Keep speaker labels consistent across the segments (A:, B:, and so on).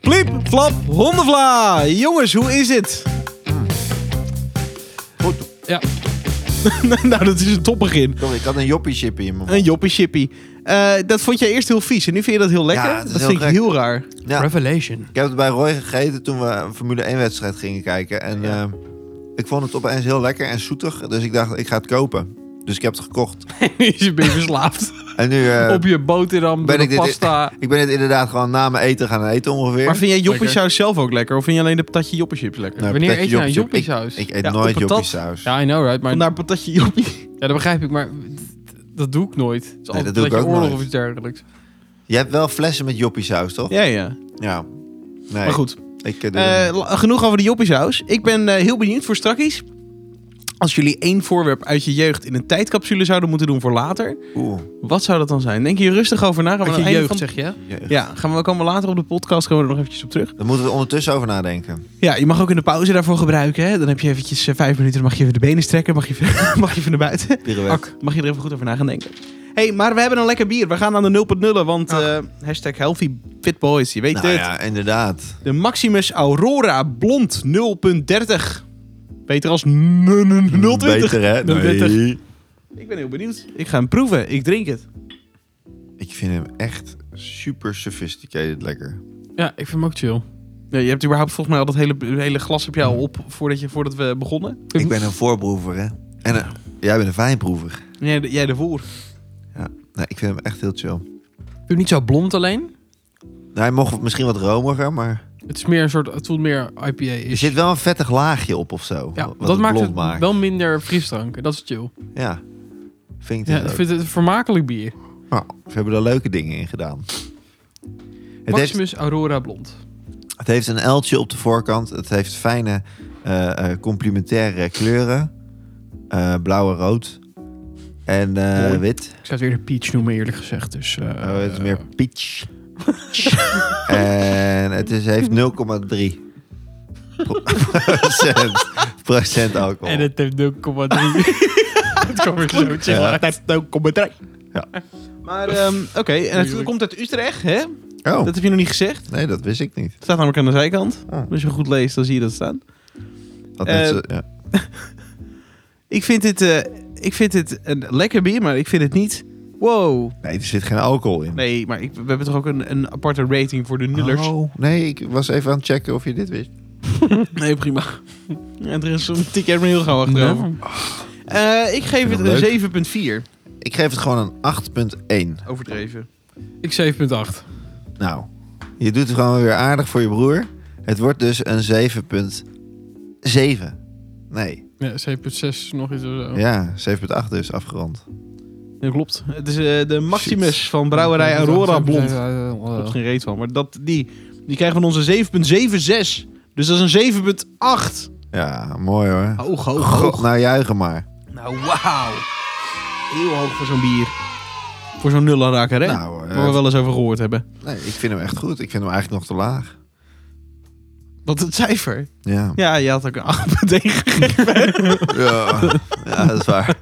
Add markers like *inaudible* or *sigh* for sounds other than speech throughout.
A: Pliep, flap, hondenvla. Jongens, hoe is het?
B: Goed,
A: Ja. *laughs* nou, dat is een topbegin.
B: sorry, ik had een joppie chippie in mijn
A: Een
B: mond.
A: joppie shippie. dat vond jij eerst heel vies en nu vind je dat heel lekker?
B: Ja, dat
A: dat
B: is heel
A: vind ik
B: gek.
A: heel raar.
B: Ja.
A: *laughs*
C: Revelation.
B: Ik heb het bij Roy gegeten toen we een Formule 1 wedstrijd gingen kijken. En eh, ik vond het opeens heel lekker en zoetig. Dus ik dacht, ik ga het kopen. Dus ik heb het gekocht.
C: je bent verslaafd.
B: En nu *laughs* eh,
C: Op je boterham,
B: ben
C: door
B: ik
C: de
B: dit- Nou,
C: pasta.
B: ik ben het inderdaad gewoon na mijn eten gaan eten ongeveer.
A: Maar vind jij joppie
C: Lekker.
A: saus zelf ook lekker? Of vind je alleen de patatje joppie chips lekker?
B: Nee,
C: Wanneer
B: patatje
C: eet je nou
B: joppie chip.
C: joppiesaus?
B: Ik, ik eet
A: Ja, op
B: nooit
A: patat.
B: joppie saus.
C: Ja, I know, right? Maar
A: Vandaar patatje joppie. *laughs*
C: ja, dat begrijp ik, maar dat doe ik nooit. Het is altijd
B: doe
C: een
B: ik
C: beetje
B: ook
C: oorlog
B: nooit.
C: of iets dergelijks.
B: Je hebt wel flessen met joppie saus, toch?
A: Ja, ja.
B: Ja. Nee,
A: Maar goed,
B: Ik, eh, doe
A: eh,
B: dat niet.
A: la- genoeg over de joppiesaus. Ik ben eh, heel benieuwd voor strakkies. Als jullie één voorwerp uit je jeugd in een tijdcapsule zouden moeten doen voor later,
B: Oeh,
A: wat zou dat dan zijn? Denk je rustig over na? Gaan we
C: Wat
A: aan
C: je
A: het einde
C: jeugd,
A: van-
C: zeg je?
B: jeugd.
A: Ja, gaan we, komen we later op de podcast komen we er nog eventjes op terug.
B: Daar moeten we ondertussen over nadenken.
A: Ja, je mag ook in de pauze daarvoor gebruiken. Hè? Dan heb je eventjes eh, vijf minuten, dan mag je even de benen strekken, mag je, even- *laughs* mag je even naar buiten.
B: Pirouette.
A: Ak, mag je er even goed over na gaan denken. hey, maar we hebben een lekker bier. We gaan aan de 0.0, want
C: Ach.
A: eh, hashtag healthy fit boys, je weet
B: Nou
A: het.
B: ja, inderdaad.
A: De Maximus Aurora Blond 0.30. Beter als 0.20.
B: Beter, hè?
A: 0,20.
B: Nee.
A: Ik ben heel benieuwd. Ik ga hem proeven. Ik drink het.
B: Ik vind hem echt super sophisticated lekker.
C: Ja, ik vind hem ook chill.
A: Ja, je hebt überhaupt volgens mij al dat hele, hele glas heb jij al op voordat, je, voordat we begonnen.
B: Ik ben een voorproever, hè? En eh, jij bent een fijnproever.
A: Jij, jij ervoor.
B: Nee, ik vind hem echt heel chill.
C: Doe hem niet zo blond alleen.
B: Nou, hij mocht misschien wat romiger, maar...
C: Het is meer een soort, het voelt meer IPA.
B: Er
C: Is.
B: zit wel een vettig laagje op of zo.
C: ja,
B: wat
C: dat maakt
B: blond
C: het
B: maakt.
C: wel minder frisdrank. Dat is chill.
B: Ja, vind ik
C: Ja,
B: het
C: ik
B: ook.
C: vind het een vermakelijk bier.
B: Nou, ze hebben er leuke dingen in gedaan. Het heeft,
C: Maximus Aurora Blond.
B: het heeft een L'tje op de voorkant. Het heeft fijne eh, eh, complementaire kleuren. Eh, blauw en rood. En eh,
C: Mooi.
B: wit.
C: Ik zou het weer de peach noemen eerlijk gezegd. Dus, eh,
B: Oh, het is meer peach. *laughs* en het is, heeft 0,3 pro- procent, procent alcohol.
C: En het heeft 0,3. *laughs* het kwam
B: *laughs*
C: weer zo chill
B: Ja.
C: uit.
A: Maar ehm, oké, en het
C: Tuurlijk.
A: komt uit Utrecht, hè?
B: Oh,
A: Dat heb je nog niet gezegd.
B: nee, dat wist ik niet.
A: Het staat namelijk aan de zijkant.
B: Oh.
A: Als je goed leest, dan zie je dat staan.
B: Dat
A: Eh,
B: mensen, ja.
A: Ik vind dit, eh, ik vind dit een lekker bier, maar ik vind het niet... Wow.
B: Nee, er zit geen alcohol in.
A: Nee, maar ik, we hebben toch ook een, een aparte rating voor de nullers?
B: Oh, nee, ik was even aan het checken of je dit wist.
A: Nee, prima. *laughs* En er is een tik me heel gauw achterover. Eh, ik geef
B: Vind
A: het
B: ik leuk.
A: een 7.4.
B: Ik geef het gewoon een 8,1.
A: Overdreven.
C: Ik 7,8.
B: Nou, je doet het gewoon weer aardig voor je broer. Het wordt dus een 7,7. Nee,
C: Ja, 7,6 nog iets of
A: Oh.
C: zo.
B: ja, 7,8 dus, afgerond.
A: Dat klopt. Het is eh, de Maximus van Brouwerij Aurora Blond. Daar klopt geen reet van. Maar dat, die, die krijgen van onze 7.76. Dus dat is een 7.8.
B: Ja, mooi hoor.
A: Hoog, hoog,
B: God, nou juichen maar.
A: Nou, wauw. Heel hoog voor zo'n bier. Voor zo'n nullenraker, hè?
B: Nou, eh,
A: Waar we wel eens over gehoord hebben.
B: nee, ik vind hem echt goed. Ik vind hem eigenlijk nog te laag.
A: Wat het cijfer. *laughs*
B: Ja,
A: Ja, je had ook een 8.1 gegeven.
B: ja. ja dat is waar.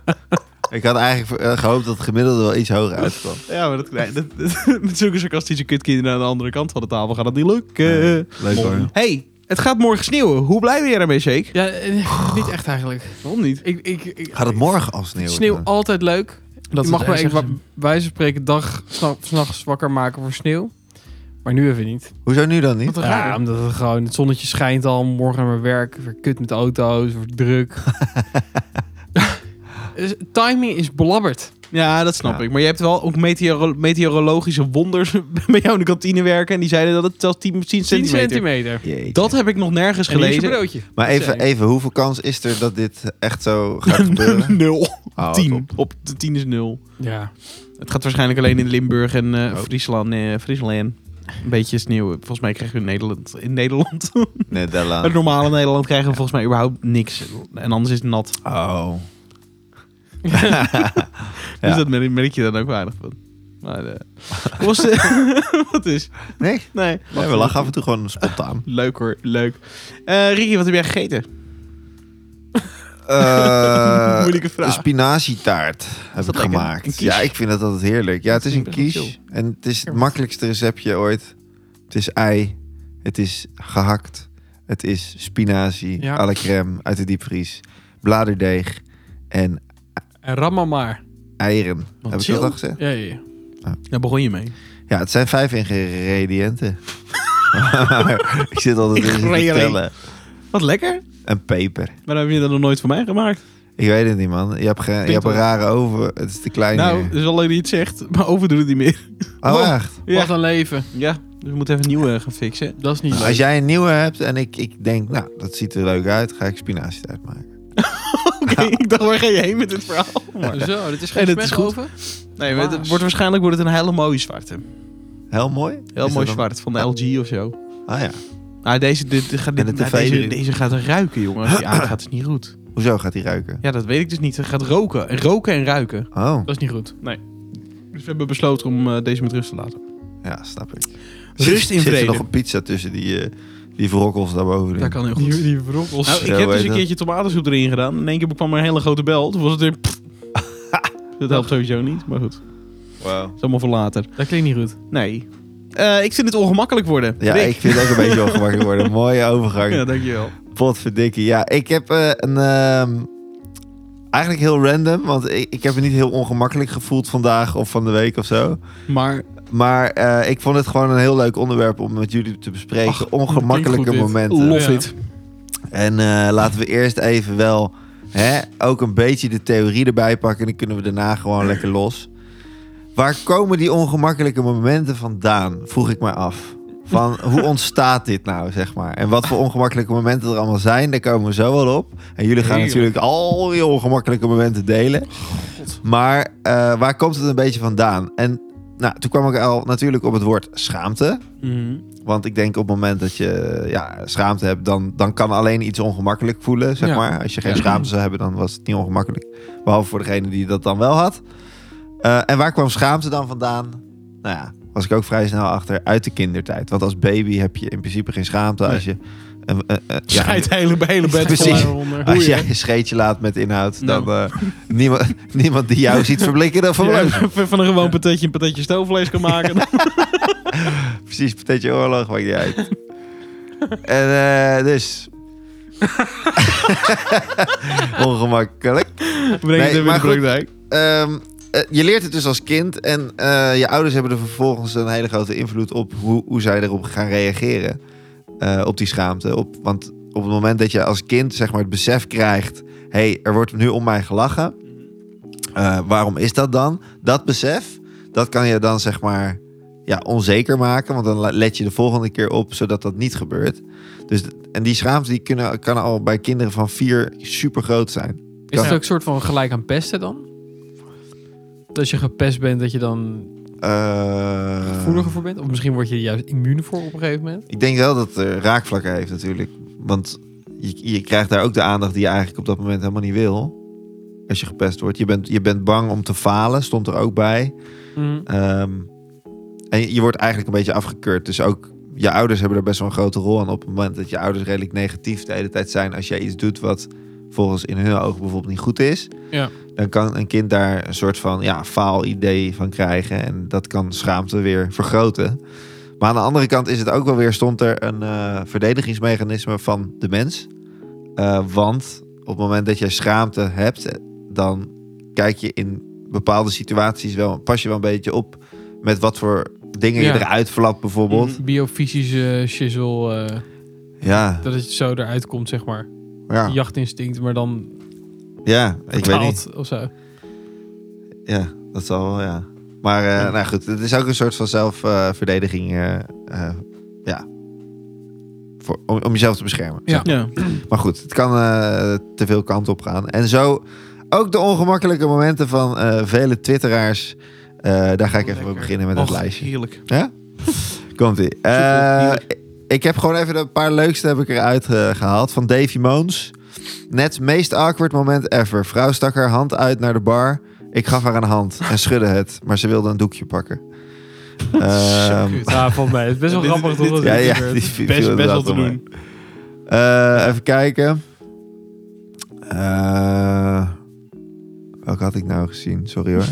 B: Ik had eigenlijk eh, gehoopt dat het gemiddelde wel iets hoger uitkwam.
A: ja, maar dat, nee, dat, *laughs* met zulke sarcastische kutkinderen aan de andere kant van de tafel gaat dat niet lukken.
B: Nee, leuk
C: Mooi.
B: hoor.
A: hey, het gaat morgen sneeuwen. Hoe blij ben jij daarmee, Shake?
C: Ja, eh, niet echt eigenlijk.
A: Waarom niet?
C: Ik, ik, ik,
B: Gaat het morgen al sneeuwen?
C: Sneeuw altijd leuk.
A: Dat
C: je mag me
A: maar
C: even wa- wijze van spreken dag, sna- s'nachts wakker maken voor sneeuw. Maar nu even niet.
B: Hoezo nu dan niet?
A: Wat raar.
C: Ja, omdat het gewoon, het zonnetje schijnt al, morgen naar mijn werk, weer kut met de auto's, wordt druk.
A: *laughs*
C: Dus timing is belabberd.
A: Ja, dat snap
B: Ja.
A: ik. Maar je hebt wel ook meteoro- meteorologische wonders *laughs* bij jou in de kantine werken. En die zeiden dat het zelfs 10, 10
C: 10 centimeter.
A: centimeter.
B: Jeetje.
A: Dat heb ik nog nergens
C: En hier is
A: *laughs*
C: een
A: gelezen.
C: broodje.
B: Maar even, even, hoeveel kans is er dat dit echt zo gaat
A: *laughs*
B: gebeuren?
A: Nul.
B: Oh, top.
A: 10. Op de 10 is 0.
C: Ja.
A: Het gaat waarschijnlijk alleen in Limburg en eh,
B: Oh.
A: Friesland, eh, Friesland. Een beetje sneeuw. Volgens mij krijgen we in Nederland. In Nederland.
B: Nee, Della.
A: Het normale Nederland krijgen we volgens mij überhaupt niks. En anders is het
B: *laughs*
A: nat.
B: Oh.
A: Dus
B: Ja.
A: dat merk, merk je dan ook weinig van. Maar, eh,
B: *laughs*
A: *laughs* hoe was de- wat is?
B: Nee?
A: Nee.
B: Nee, we lachen af en toe
A: *laughs*
B: gewoon spontaan.
A: Leuk hoor, leuk. Eh Ricky, wat heb jij gegeten?
B: Eh,
A: Moeilijke vraag.
B: Een spinazietaart heb
A: dat
B: ik
A: lekker? Een
B: gemaakt.
A: quiche?
B: Ja, ik vind dat altijd heerlijk. Ja,
A: Dat
B: het is een
A: vind ik best wel
B: quiche. En het is het makkelijkste receptje ooit. Het is ei Het is gehakt. Het is spinazie
C: Ja.
B: à la crème uit de diepvries. Bladerdeeg en
C: En ram maar maar.
B: eieren. Heb ik
A: chill.
B: dat al gezegd?
C: Ja, ja, ja.
A: Daar begon je mee.
B: Ja, het zijn
A: *laughs*
B: vijf ingrediënten. *laughs* Maar ik zit altijd in te
A: Ingrediënten.
B: vertellen.
A: Wat lekker.
B: Een peper.
A: Waarom heb je dat nog nooit voor mij gemaakt?
B: Ik weet het niet, man. Je hebt, ge- je hebt een rare over. Het is te klein
A: nou,
B: hier.
A: dat is alleen niet zegt, maar overdoet het niet meer.
B: Oh, echt?
A: Ja.
C: Wat een leven.
A: Ja, dus we moeten even een nieuwe gaan fixen.
C: Dat is niet
B: Nou,
C: leuk.
B: als jij een nieuwe hebt en ik, ik denk, nou, dat ziet er leuk uit, ga ik spinazie uitmaken.
A: *laughs* Oké, ik dacht, waar ga je heen met dit *laughs* verhaal? Maar-
C: Zo, dit is
A: En
C: geen
A: het is
C: smet
A: goed.
C: over.
A: Nee, maar het wordt waarschijnlijk wordt het een hele mooie zwarte.
B: Heel mooi.
A: Heel
B: Is
A: mooi
B: dat dan-
A: zwart, van de LG of zo.
B: Ah ja.
A: Nou, deze, dit, dit gaat,
B: En
A: dit,
B: een
A: nou,
B: tv
A: deze,
B: erin.
A: deze gaat ruiken, jongen.
B: *laughs*
A: Als die aangaat, is dus niet goed.
B: Hoezo gaat die ruiken?
A: Ja, dat weet ik dus niet. Het gaat roken. En roken en ruiken.
B: Oh,
C: Dat is niet goed.
A: Dus we hebben besloten om eh, deze met rust te laten.
B: ja, snap ik.
A: Rust in
B: Zit er
A: vrede.
B: nog een pizza tussen die, eh die vrokkels daarboven?
A: Dat kan heel goed.
C: die brokkels.
A: Nou, ik
B: Ja,
A: heb
B: weet
A: dus een
B: dat.
A: keertje tomatensoep erin gedaan. In één keer kwam er een hele grote bel. Toen was het weer... dat helpt sowieso niet, maar goed. Dat
B: Wow.
A: is allemaal voor later.
C: dat klinkt niet goed.
A: Nee. Eh, ik vind het ongemakkelijk worden.
B: Ja,
A: Rick.
B: ik vind het ook een
A: *laughs*
B: beetje ongemakkelijk worden. Mooie overgang.
A: Ja, dankjewel.
B: Potverdikkie. Ja, ik heb eh, een... ehm, eigenlijk heel random, want ik, ik heb me niet heel ongemakkelijk gevoeld vandaag of van de week of zo.
C: Maar
B: Maar eh, ik vond het gewoon een heel leuk onderwerp om met jullie te bespreken.
C: Ach, klinkt
B: Ongemakkelijke
C: goed dit.
B: momenten.
A: Love
C: Ja.
A: it.
B: En eh, laten we eerst even wel hè, ook een beetje de theorie erbij pakken. En dan kunnen we daarna gewoon lekker los. Waar komen die ongemakkelijke momenten vandaan? Vroeg ik mij af. Van hoe ontstaat dit nou, zeg maar? En wat voor ongemakkelijke momenten er allemaal zijn, daar komen we zo wel op. En jullie gaan
A: Heerlijk.
B: natuurlijk al die ongemakkelijke momenten delen. Maar eh, waar komt het een beetje vandaan? En nou, toen kwam ik al natuurlijk op het woord schaamte.
A: Mhm.
B: Want ik denk op het moment dat je ja, schaamte hebt, dan, dan kan alleen iets ongemakkelijk voelen, zeg
C: Ja.
B: maar. Als je geen
A: Ja.
B: schaamte zou hebben, dan was het niet ongemakkelijk. Behalve voor degene die dat dan wel had. Eh, en waar kwam schaamte dan vandaan? Nou ja, was ik ook vrij snel achter uit de kindertijd. Want als baby heb je in principe geen schaamte als je... eh, eh, eh, ja,
A: Schijt hele, hele bed
B: Precies.
A: vol.
B: *laughs* als jij een scheetje laat met inhoud, dan eh, niemand, *laughs* niemand die jou ziet verblikken, dan
A: Ja,
B: verblikt.
A: van een gewoon patatje een patatje stoofvlees kan
B: *laughs*
A: maken.
B: Precies, patatje oorlog, maakt niet uit. en eh, dus... *laughs* Ongemakkelijk.
A: Breng
B: Nee,
A: het even
B: maar
A: in de
B: goed.
A: praktijk.
B: Ehm, eh, je leert het dus als kind en eh, je ouders hebben er vervolgens een hele grote invloed op hoe, hoe zij erop gaan reageren. eh, op die schaamte. Op, want op het moment dat je als kind zeg maar, het besef krijgt: hé, hey, er wordt nu om mij gelachen. eh, waarom is dat dan? Dat besef, dat kan je dan zeg maar ja, onzeker maken. Want dan la- let je de volgende keer op zodat dat niet gebeurt. Dus, en die schaamte die kunnen, kan al bij kinderen van vier super groot zijn.
C: Is het
A: Ja.
C: ook een soort van gelijk aan pesten dan? Dat als je gepest bent, dat je dan
B: Eh,
C: gevoeliger voor bent? Of misschien word je er juist immuun voor op een gegeven moment?
B: Ik denk wel dat het eh, raakvlakken heeft natuurlijk. Want je, je krijgt daar ook de aandacht die je eigenlijk op dat moment helemaal niet wil. Als je gepest wordt. Je bent, je bent bang om te falen, stond er ook bij.
C: Mm.
B: Ehm, en je, je wordt eigenlijk een beetje afgekeurd. Dus ook je ouders hebben er best wel een grote rol aan. Op het moment dat je ouders redelijk negatief de hele tijd zijn. Als jij iets doet wat volgens in hun ogen bijvoorbeeld niet goed is.
C: Ja.
B: Dan kan een kind daar een soort van ja, faal-idee van krijgen. En dat kan schaamte weer vergroten. Maar aan de andere kant is het ook wel weer, stond er een eh, verdedigingsmechanisme van de mens. Eh, want op het moment dat jij schaamte hebt, eh, dan kijk je in bepaalde situaties wel, pas je wel een beetje op met wat voor dingen
C: Ja. Mhm.
B: je eruit flapt bijvoorbeeld.
C: Biofysische shizzle, eh,
B: Ja,
C: dat het zo eruit komt, zeg maar.
B: ja,
C: Jachtinstinct, maar dan
B: ja, ik weet niet.
C: vertaald of zo.
B: Ja, dat zal wel, ja. Maar eh,
C: Ja.
B: nou goed, het is ook een soort van zelfverdediging. eh, eh, ja. Voor, om, om jezelf te beschermen.
C: Ja.
A: Ja.
B: Maar goed, het kan eh, te veel kant op gaan. En zo ook de ongemakkelijke momenten van eh, vele twitteraars. Eh, daar ga ik even mee
C: Lekker.
B: beginnen met het
A: Och,
B: lijstje.
A: Heerlijk.
B: Komt-ie.
A: Super,
B: Eh,
A: heerlijk.
B: ik heb gewoon even een paar leukste heb ik eruit eh, gehaald. Van Davy Moons. Net meest awkward moment ever. Vrouw stak haar hand uit naar de bar. Ik gaf haar een hand en schudde het. Maar ze wilde een doekje pakken. Ehm,
C: Ja, van mij. Het is best wel
A: Dit-
C: grappig
A: dit-
C: dat dat
B: *laughs* ja,
C: dit
B: ja,
C: gebeurt.
B: die *laughs* viel
A: Best, best wel
B: inderdaad
A: te
B: om mij.
A: doen.
B: Eh, even kijken. Eh welke had ik nou gezien? Sorry hoor.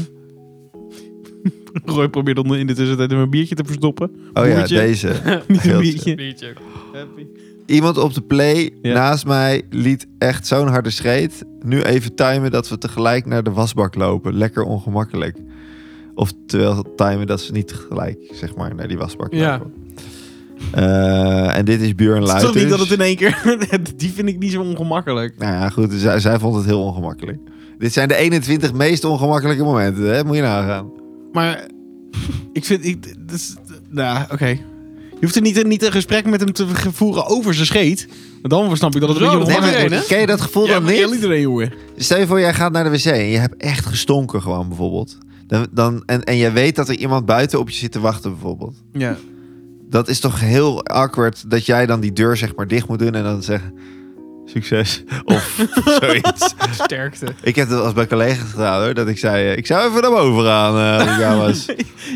A: Roy probeert onder in de tussentijd een biertje te verstoppen.
B: Oh ja,
A: Broertje.
B: deze.
A: Niet een
B: Geld.
A: biertje.
C: Biertje.
A: Happy.
B: Iemand op de play
A: Ja.
B: naast mij liet echt zo'n harde scheet. Nu even timen dat we tegelijk naar de wasbak lopen. Lekker ongemakkelijk. Of terwijl timen dat ze niet tegelijk zeg maar, naar die wasbak
C: Ja.
B: lopen. Eh, en dit is Björn
A: Het is toch
B: Luijters.
A: niet dat het in één keer... *laughs* die vind ik niet zo ongemakkelijk.
B: Nou ja, goed. Zij, zij vond het heel ongemakkelijk. Dit zijn de 21 meest ongemakkelijke momenten. Hè? Moet je nagaan.
A: Maar ik vind... Ik, dus, nou, oké. Je hoeft er niet, niet een gesprek met hem te ge- voeren over zijn scheet. Want dan snap ik dat het een
C: Zo,
A: beetje
C: dat mag
A: ongemakkelijk
C: iedereen,
A: wordt.
C: hè?
B: ken je dat gevoel
A: Ja,
B: dan
A: maar
B: niet?
A: iedereen, jongen.
B: Stel je voor, jij gaat naar de wc en je hebt echt gestonken gewoon bijvoorbeeld. Dan, dan, en, en jij weet dat er iemand buiten op je zit te wachten bijvoorbeeld.
C: Ja.
B: Dat is toch heel awkward dat jij dan die deur zeg maar dicht moet doen en dan zeggen... Succes. *laughs* Of zoiets.
C: Sterkte.
B: Ik heb dat als bij collega's gedaan hoor. Dat ik zei, eh, ik zou even naar boven gaan. eh, als ik
A: *laughs*
B: jou was.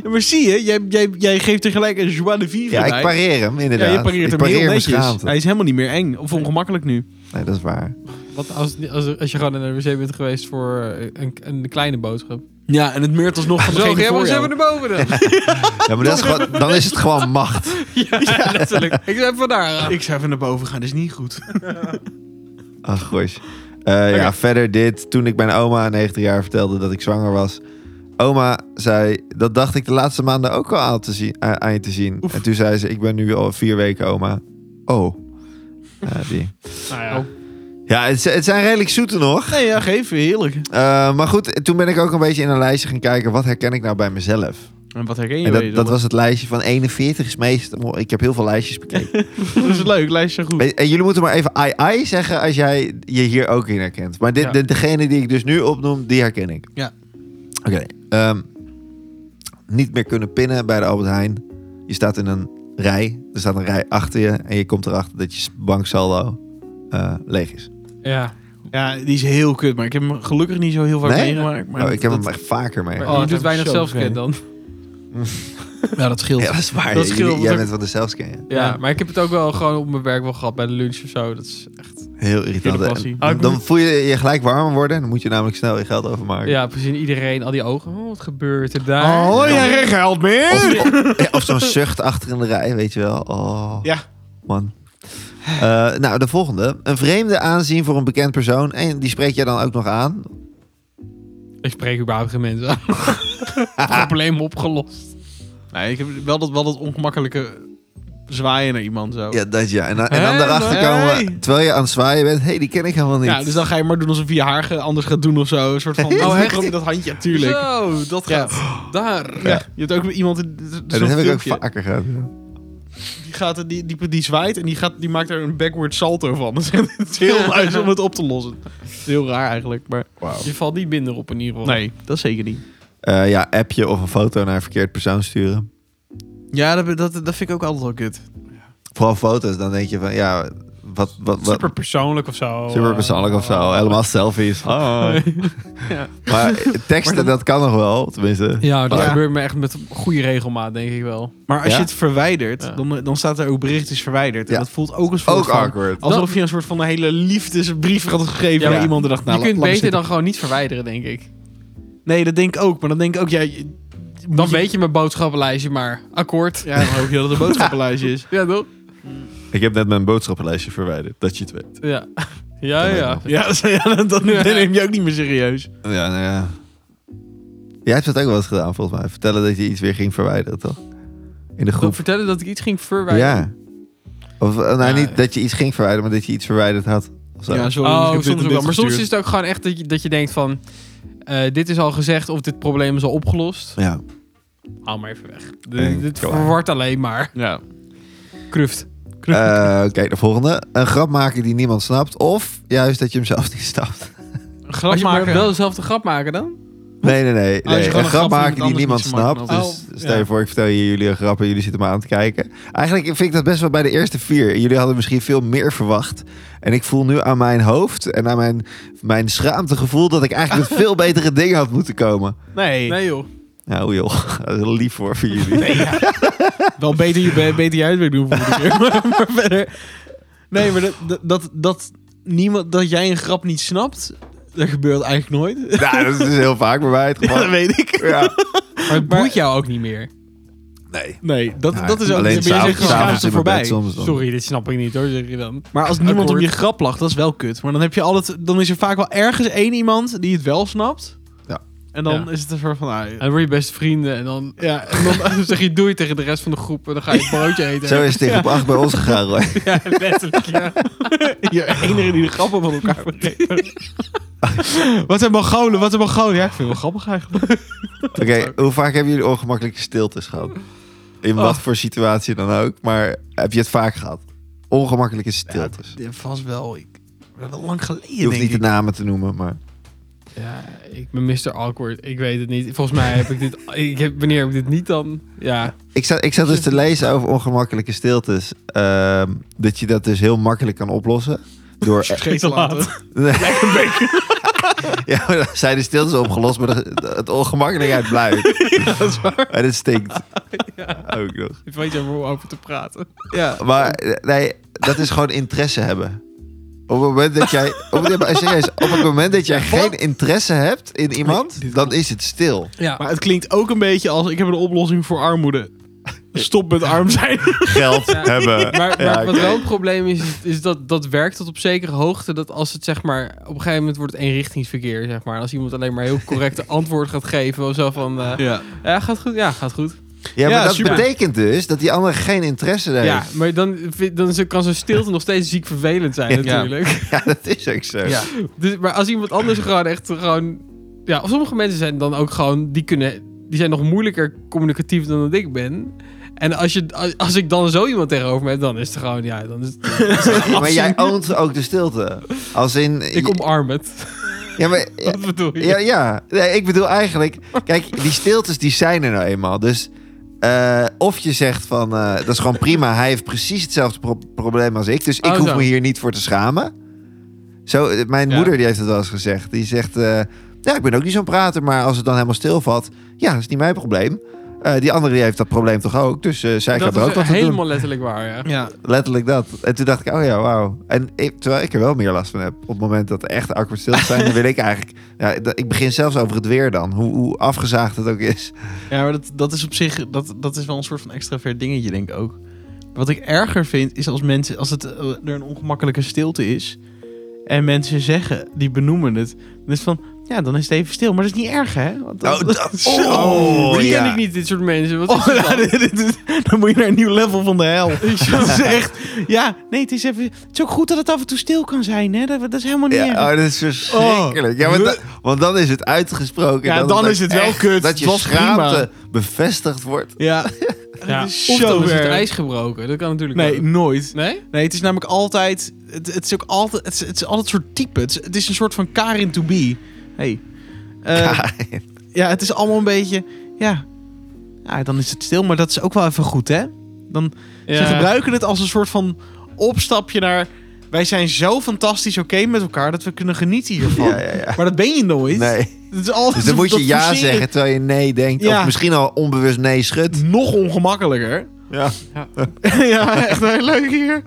A: Ja, maar zie je, jij, jij, jij geeft tegelijk een joie de vivre
B: Ja,
A: bij.
B: ik pareer hem
A: Ja,
B: inderdaad.
A: je pareert
B: ik
A: hem
B: pareer
A: heel
B: mijn
A: netjes.
B: schaamte.
A: Hij is helemaal niet meer eng of ongemakkelijk nu.
B: Nee, dat is waar.
C: Wat als, als, als je gewoon naar de wc bent geweest voor eh, een, een kleine boodschap.
A: Ja, en het meurt alsnog van degene voor jou.
C: boven
A: *laughs*
C: dan.
B: Ja, maar dat is gewoon, dan is het gewoon macht.
A: *laughs*
C: ja, letterlijk. Ik ben van daar aan.
A: Ik zou even naar boven gaan, dat is niet goed.
B: Ach, gosh. Eh, Ja, verder dit. Toen ik mijn oma, 90 jaar, vertelde dat ik zwanger was. Oma zei, dat dacht ik de laatste maanden ook al aan, te zien, eh, aan aan je te zien. En toen zei ze, ik ben nu al vier weken oma. Oh. Ja, die.
C: Nou
B: ja het, z- het zijn redelijk zoete nog.
A: Nee, ja, geef, heerlijk.
B: Eh, maar goed, toen ben ik ook een beetje in een lijstje gaan kijken. Wat herken ik nou bij mezelf?
A: En wat herken je
B: En
A: bij
B: dat, dat
A: jezelf?
B: was het lijstje van 41 is meest... Ik heb heel veel lijstjes bekeken.
A: Dat is leuk, lijst zo goed.
B: En en jullie moeten maar even ai ai zeggen als jij je hier ook in herkent. Maar dit,
C: Ja.
B: de- degene die ik dus nu opnoem, die herken ik.
A: Ja.
B: Oké. ehm, niet meer kunnen pinnen bij de Albert Heijn. Je staat in een rij. Er staat een rij achter je. En je komt erachter dat je banksaldo eh, leeg is.
C: ja.
A: Ja, die is heel kut, maar ik heb hem gelukkig niet zo heel vaak
B: Nee?
A: meegemaakt. Maar
B: oh, ik heb
A: dat-
B: hem echt vaker mee.
A: Maar-
C: Oh, je
A: dat
C: doet
A: heb
C: weinig
A: ik zo
C: zelfscan
A: gekregen.
C: dan.
A: Ja, dat scheelt.
B: Ja, dat is waar.
C: Dat
B: ja.
C: scheelt,
B: Jullie- jij
C: want-
B: bent van de zelfscan. ja.
C: Ja,
A: Ja.
C: maar ik heb het ook wel gewoon op mijn werk wel gehad bij de lunch of zo. Dat is echt...
B: Heel irritant.
A: Hele passie.
B: En
C: Oh,
B: Dan,
C: ik
B: dan
C: moet-
B: voel je je gelijk warmer worden. Dan moet je namelijk snel je geld overmaken.
C: Ja, precies. Iedereen, al die ogen. Oh, wat gebeurt er daar?
A: Oh, ja, geen geld meer!
B: Of, of- ja, of zo'n zucht achter in de rij, weet je wel. Oh,
A: Ja.
B: Man. Eh, nou, de volgende. Een vreemde aanzien voor een bekend persoon. En die spreek jij dan ook nog aan.
C: Ik spreek überhaupt geen mensen *laughs* aan. Probleem opgelost.
A: Nee, ik heb wel dat, wel dat ongemakkelijke zwaaien naar iemand zo.
B: Ja, dat ja. En dan, en dan
C: Hey,
B: daarachter
A: hey.
B: komen, terwijl je aan het zwaaien bent. Hé, hey, die ken ik helemaal niet.
A: Ja, dus dan ga je maar doen alsof je je haar ge- anders gaat doen of zo. Een soort
B: *laughs*
A: van,
C: Oh, echt?
A: dat handje, tuurlijk.
C: Zo, dat
A: Ja.
C: gaat daar.
A: Ja. Je hebt ook weer iemand... in- d- d-
B: En
A: zo'n
B: dat heb ik ook
A: filmpje.
B: vaker gehad. ja.
A: Die, gaat, er- die, die, die zwaait en die, gaat, die maakt er een backward salto van. *laughs* Dat is echt- het is heel luister om het op te lossen. Het is heel raar eigenlijk, maar...
C: Je valt niet minder op in ieder geval.
A: Nee, dat zeker niet.
B: Eh, ja, appje of een foto naar een verkeerd persoon sturen.
A: Ja, dat, dat, dat vind ik ook altijd wel kut.
B: Vooral foto's, dan denk je van, ja, wat... wat, wat
C: Super persoonlijk of zo.
B: super persoonlijk of zo. Helemaal selfies. Hoi.
C: Ja.
B: Maar teksten, dat kan nog wel. Tenminste.
C: Ja, dat
A: Ja.
C: gebeurt me echt met goede regelmaat, denk ik wel.
A: Maar als
B: Ja?
A: je het verwijdert,
C: Ja.
A: dan, dan staat er ook bericht is verwijderd.
B: Ja.
A: En dat voelt ook als
B: Ook
A: soort van-
B: awkward.
A: Alsof je een soort van een hele liefdesbrief had gegeven
C: Ja,
A: aan
C: ja.
A: iemand en dacht, nou,
C: je
A: laat-
C: kunt
A: laat me
C: beter
A: zitten.
C: dan gewoon niet verwijderen, denk ik.
A: Nee, dat denk ik ook. Maar dan denk ik ook, ja... je-
C: Dan
A: moet je-
C: weet je mijn boodschappenlijstje, maar akkoord.
A: Ja, dan hoop je dat het een
C: *laughs*
A: boodschappenlijstje is.
C: Ja, toch?
B: Ik heb net mijn boodschappenlijstje verwijderd, dat je het weet.
C: Ja. Ja, ja.
A: Ja, dat, ja, dat,
C: *laughs*
A: dat neem je ook niet meer serieus.
B: Ja, nou ja. Jij hebt dat ook wel eens gedaan, volgens mij. Vertellen dat je iets weer ging verwijderen, toch? In de
C: Ik
B: groep.
C: vertellen dat ik iets ging verwijderen.
B: Ja. Of, eh, nou,
C: Ja,
B: niet
C: ja.
B: dat je iets ging verwijderen, maar dat je iets verwijderd had. Of zo.
A: Ja, sorry, ik heb
C: Oh,
A: dit en
C: soms ook
A: dit
C: wel. Maar soms is
A: gestuurd.
C: het ook gewoon echt dat je, dat je denkt van... eh, dit is al gezegd of dit probleem is al opgelost.
B: Ja.
C: Haal maar even weg. D-
B: En
C: dit
B: klaar.
C: verwart alleen maar.
A: Ja.
C: Kruft.
B: Eh, Oké, de volgende. Een grap maken die niemand snapt. Of juist dat je hem zelf niet snapt.
C: Als
A: Grap
C: je maar wel dezelfde grap maken dan?
B: Nee, nee,
A: Oh,
B: nee.
A: gewoon
B: nee.
A: een
B: Een,
A: grap
B: grap
A: van
B: maken die
A: iemand
B: niemand
A: anders niet
B: snapt.
A: snapt.
B: Dus
C: Oh,
B: stel je
C: ja.
B: voor, ik vertel je jullie een grap en jullie zitten me aan het kijken. Eigenlijk vind ik dat best wel bij de eerste vier. Jullie hadden misschien veel meer verwacht. En ik voel nu aan mijn hoofd en aan mijn, mijn schaamtegevoel... dat ik eigenlijk met
A: *laughs*
B: veel betere dingen had moeten komen.
A: Nee.
C: Nee joh.
B: Nou joh, *laughs* dat is wel lief voor, voor jullie.
A: *laughs* Wel beter je, be- beter je huiswerk doen voor de keer. *laughs* maar, maar verder. Nee, maar dat, dat- dat, dat, niemand, dat jij een grap niet snapt, dat gebeurt eigenlijk nooit. *laughs*
B: Nou, dat is dus heel vaak bij mij het
A: Ja, *laughs*
B: geval.
A: dat weet ik.
B: Ja.
C: Maar het boeit jou ook niet meer.
B: Nee.
A: Nee, dat, dat is ook...
B: Nou, Alleen
A: maar jij zegt, je
B: s'avonds-
A: schaamt
B: s'avonds
A: er
B: in mijn bed
A: voorbij.
B: soms dan.
C: Sorry, dit snap ik niet hoor, zeg je dan.
A: Maar als niemand om
C: Akkoord.
A: je grap lacht, dat is wel kut. Maar dan, heb je altijd, dan is er vaak wel ergens één iemand die het wel snapt.
B: Ja.
A: En dan
C: Ja.
A: is het een soort van... ah,
C: En dan word je best vrienden en dan,
A: ja,
C: *laughs* en dan zeg je doei tegen de rest van de groep en dan ga je een broodje eten.
B: Zo is het tegen op 8 bij ons gegaan, hoor.
C: Ja, letterlijk, ja.
A: *laughs* je enige die de grappen van elkaar begrepen. wat zijn Mongolen, wat zijn Mongolen. Ja, ik vind het wel grappig eigenlijk.
B: Oké, hoe vaak hebben jullie ongemakkelijke stiltes gehad? In
C: Oh.
B: wat voor situatie dan ook, maar heb je het vaak gehad? Ongemakkelijke stiltes.
A: Ja, vast wel. Ik, dat lang geleden,
B: je hoeft niet
A: denk
B: de
A: ik.
B: namen te noemen, maar...
C: Ja, ik ben Mr. Awkward. Ik weet het niet. Volgens mij heb ik dit... Ik heb, wanneer heb ik dit niet dan? Ja.
B: Ik zat, ik zat dus te lezen over ongemakkelijke stiltes. ehm, dat je dat dus heel makkelijk kan oplossen.
C: *laughs*
B: Door...
A: Vergeet te laten.
B: ja, maar dan zijn de stiltes opgelost, maar de- het ongemakkelijkheid
C: *laughs*
B: blijft.
C: dat is waar.
B: En het
C: *laughs*
B: stinkt. Ook nog.
C: Ik weet je om over te praten.
A: Ja.
B: Maar eh, nee, dat is gewoon interesse hebben. Op het moment dat jij, op het, ja, maar serieus, op het moment dat jij geen interesse hebt in iemand, dan is het stil.
C: Ja.
A: Maar het klinkt ook een beetje als... Ik heb een oplossing voor armoede. Stop met arm zijn.
B: Geld
C: Ja.
B: hebben.
C: Maar,
B: Ja,
C: maar wat
B: oké.
C: wel een probleem is, is- is dat dat werkt tot op zekere hoogte. Dat als het zeg maar, op een gegeven moment wordt het eenrichtingsverkeer, zeg maar. Als iemand alleen maar heel correcte antwoorden gaat geven, wel zo van, eh,
A: Ja.
C: ja, gaat goed, ja, gaat goed.
B: Ja, maar
A: Ja,
B: dat
A: super.
B: betekent dus dat die ander geen interesse heeft. *laughs*
C: Ja,
B: Ja,
C: maar dan, vind- dan zo- kan zo'n stilte nog steeds ziek vervelend zijn
A: Ja.
C: natuurlijk.
B: dat is ook zo.
A: Ja.
C: Dus, maar als iemand
B: *clears throat*
C: anders gewoon echt gewoon... Ja, of sommige mensen zijn dan ook gewoon... Die, kunnen, die zijn nog moeilijker communicatief dan dat ik ben. En als, je, als, als ik dan zo iemand tegenover me heb, dan is het gewoon... Ja, dan is het,
B: maar jij oont ook de stilte. Als in...
C: ik omarm het.
B: Ja, maar... ja,
C: Wat bedoel je?
B: Ja, ja. Nee, ik bedoel eigenlijk... Kijk, die stiltes die zijn er nou eenmaal. Dus eh, of je zegt van... eh, dat is gewoon prima. Hij heeft precies hetzelfde pro- probleem als ik. Dus ik
C: Oh,
B: hoef
C: zo.
B: me hier niet voor te schamen. Zo, eh, mijn
C: Ja.
B: moeder die heeft het wel eens gezegd. Die zegt... eh, ja, ik ben ook niet zo'n prater. Maar als het dan helemaal stilvalt... Ja, dat is niet mijn probleem. Eh, die andere die heeft dat probleem toch ook. Dus eh, zij
C: dat
B: gaat er ook
C: is
B: wat aan doen.
C: helemaal letterlijk waar, ja.
A: Ja.
B: Letterlijk dat. En toen dacht ik, oh ja, wauw. En ik- terwijl ik er wel meer last van heb. Op het moment dat er echt awkward stil zijn, dan wil ik eigenlijk... Ja, dat- ik begin zelfs over het weer dan. Hoe, hoe afgezaagd het ook is.
A: Ja, maar dat, dat is op zich, dat, dat is wel een soort van extravert dingetje, denk ik ook. Wat ik erger vind, is als mensen, als het, eh, er een ongemakkelijke stilte is. En mensen zeggen, die benoemen het. Dan is het van, ja, dan is het even stil. Maar dat is niet erg, hè? Want dat-
B: Oh, dat-
A: Zo.
B: Oh,
C: die
B: ja.
C: ken ik niet, dit soort mensen.
B: *laughs*
C: Wat
A: Oh,
C: is het
A: ja,
C: dan?
A: dit- dit is- dan moet je naar een nieuw level van de hel. Dat is echt, ja, nee, het is, even, het is ook goed dat het af en toe stil kan zijn, hè? Dat, dat is helemaal niet
B: Ja,
A: erg.
B: oh, dat is verschrikkelijk. Ja, want, da- want dan is het uitgesproken.
A: Oh. Ja, dan is het wel
B: echt
A: kut.
B: Dat
A: Het
B: je
A: was prima.
B: schaamte bevestigd wordt.
A: Ja,
C: Ja.
A: dat is
C: Of
A: zo
C: dan is het
A: erg.
C: ijs gebroken. Dat kan natuurlijk
A: Nee,
C: ook.
A: nooit.
C: Nee?
A: Nee, het is namelijk altijd. Het, het is ook altijd. Het is, het is altijd een soort type. Het is, het is een soort van Karin to be. Hey. Eh, ja, het is allemaal een beetje. Ja. ja, dan is het stil, maar dat is ook wel even goed, hè? Dan, Ze gebruiken het als een soort van opstapje naar. Wij zijn zo fantastisch oké met elkaar dat we kunnen genieten hiervan.
B: Ja, ja, ja.
A: Maar dat ben je nooit.
B: Nee.
A: Het is altijd
B: Dus dan moet
A: dat
B: je ja
A: forceren.
B: zeggen terwijl je nee denkt.
A: Ja.
B: Of misschien al onbewust nee schudt.
A: Nog ongemakkelijker. *laughs*
B: Ja.
A: ja, echt heel leuk hier.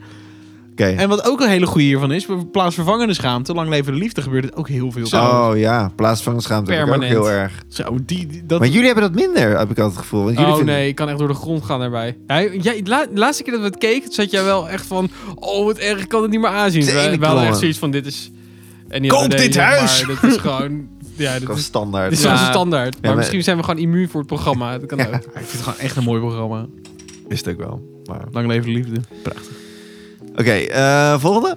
B: Oké.
A: En wat ook een hele goede hiervan is, plaatsvervangende schaamte, lang leven de liefde gebeurt het ook heel veel.
B: Oh ja, plaats van schaamte heb ik ook
C: Permanent.
B: heel erg.
A: Zo, die, die- dat,
B: Maar jullie hebben dat minder, heb ik altijd het gevoel. Want jullie
C: oh
B: vinden-
C: nee, ik kan echt door de grond gaan daarbij. Ja, jij, la- de laatste keer dat we het keken, zat jij wel echt van... Oh, wat erg, ik kan het niet meer aanzien. We,
B: Tenen
C: we hadden
B: knallen.
C: echt zoiets van, dit is... En die
A: Koop
C: andere
A: dit
C: deed, zeg
A: huis!
C: Maar, dit is gewoon...
A: *laughs*
C: Ja, dit
B: Gewoon
C: is,
B: standaard. eh,
C: dit is
A: Ja.
C: onze standaard. Maar,
B: maar-
C: misschien zijn we gewoon immuun voor het programma. Dat kan ook.
A: ik vind het gewoon echt een mooi programma.
B: Is het ook wel. Maar...
A: Lang leven de liefde.
B: Oké, eh, volgende.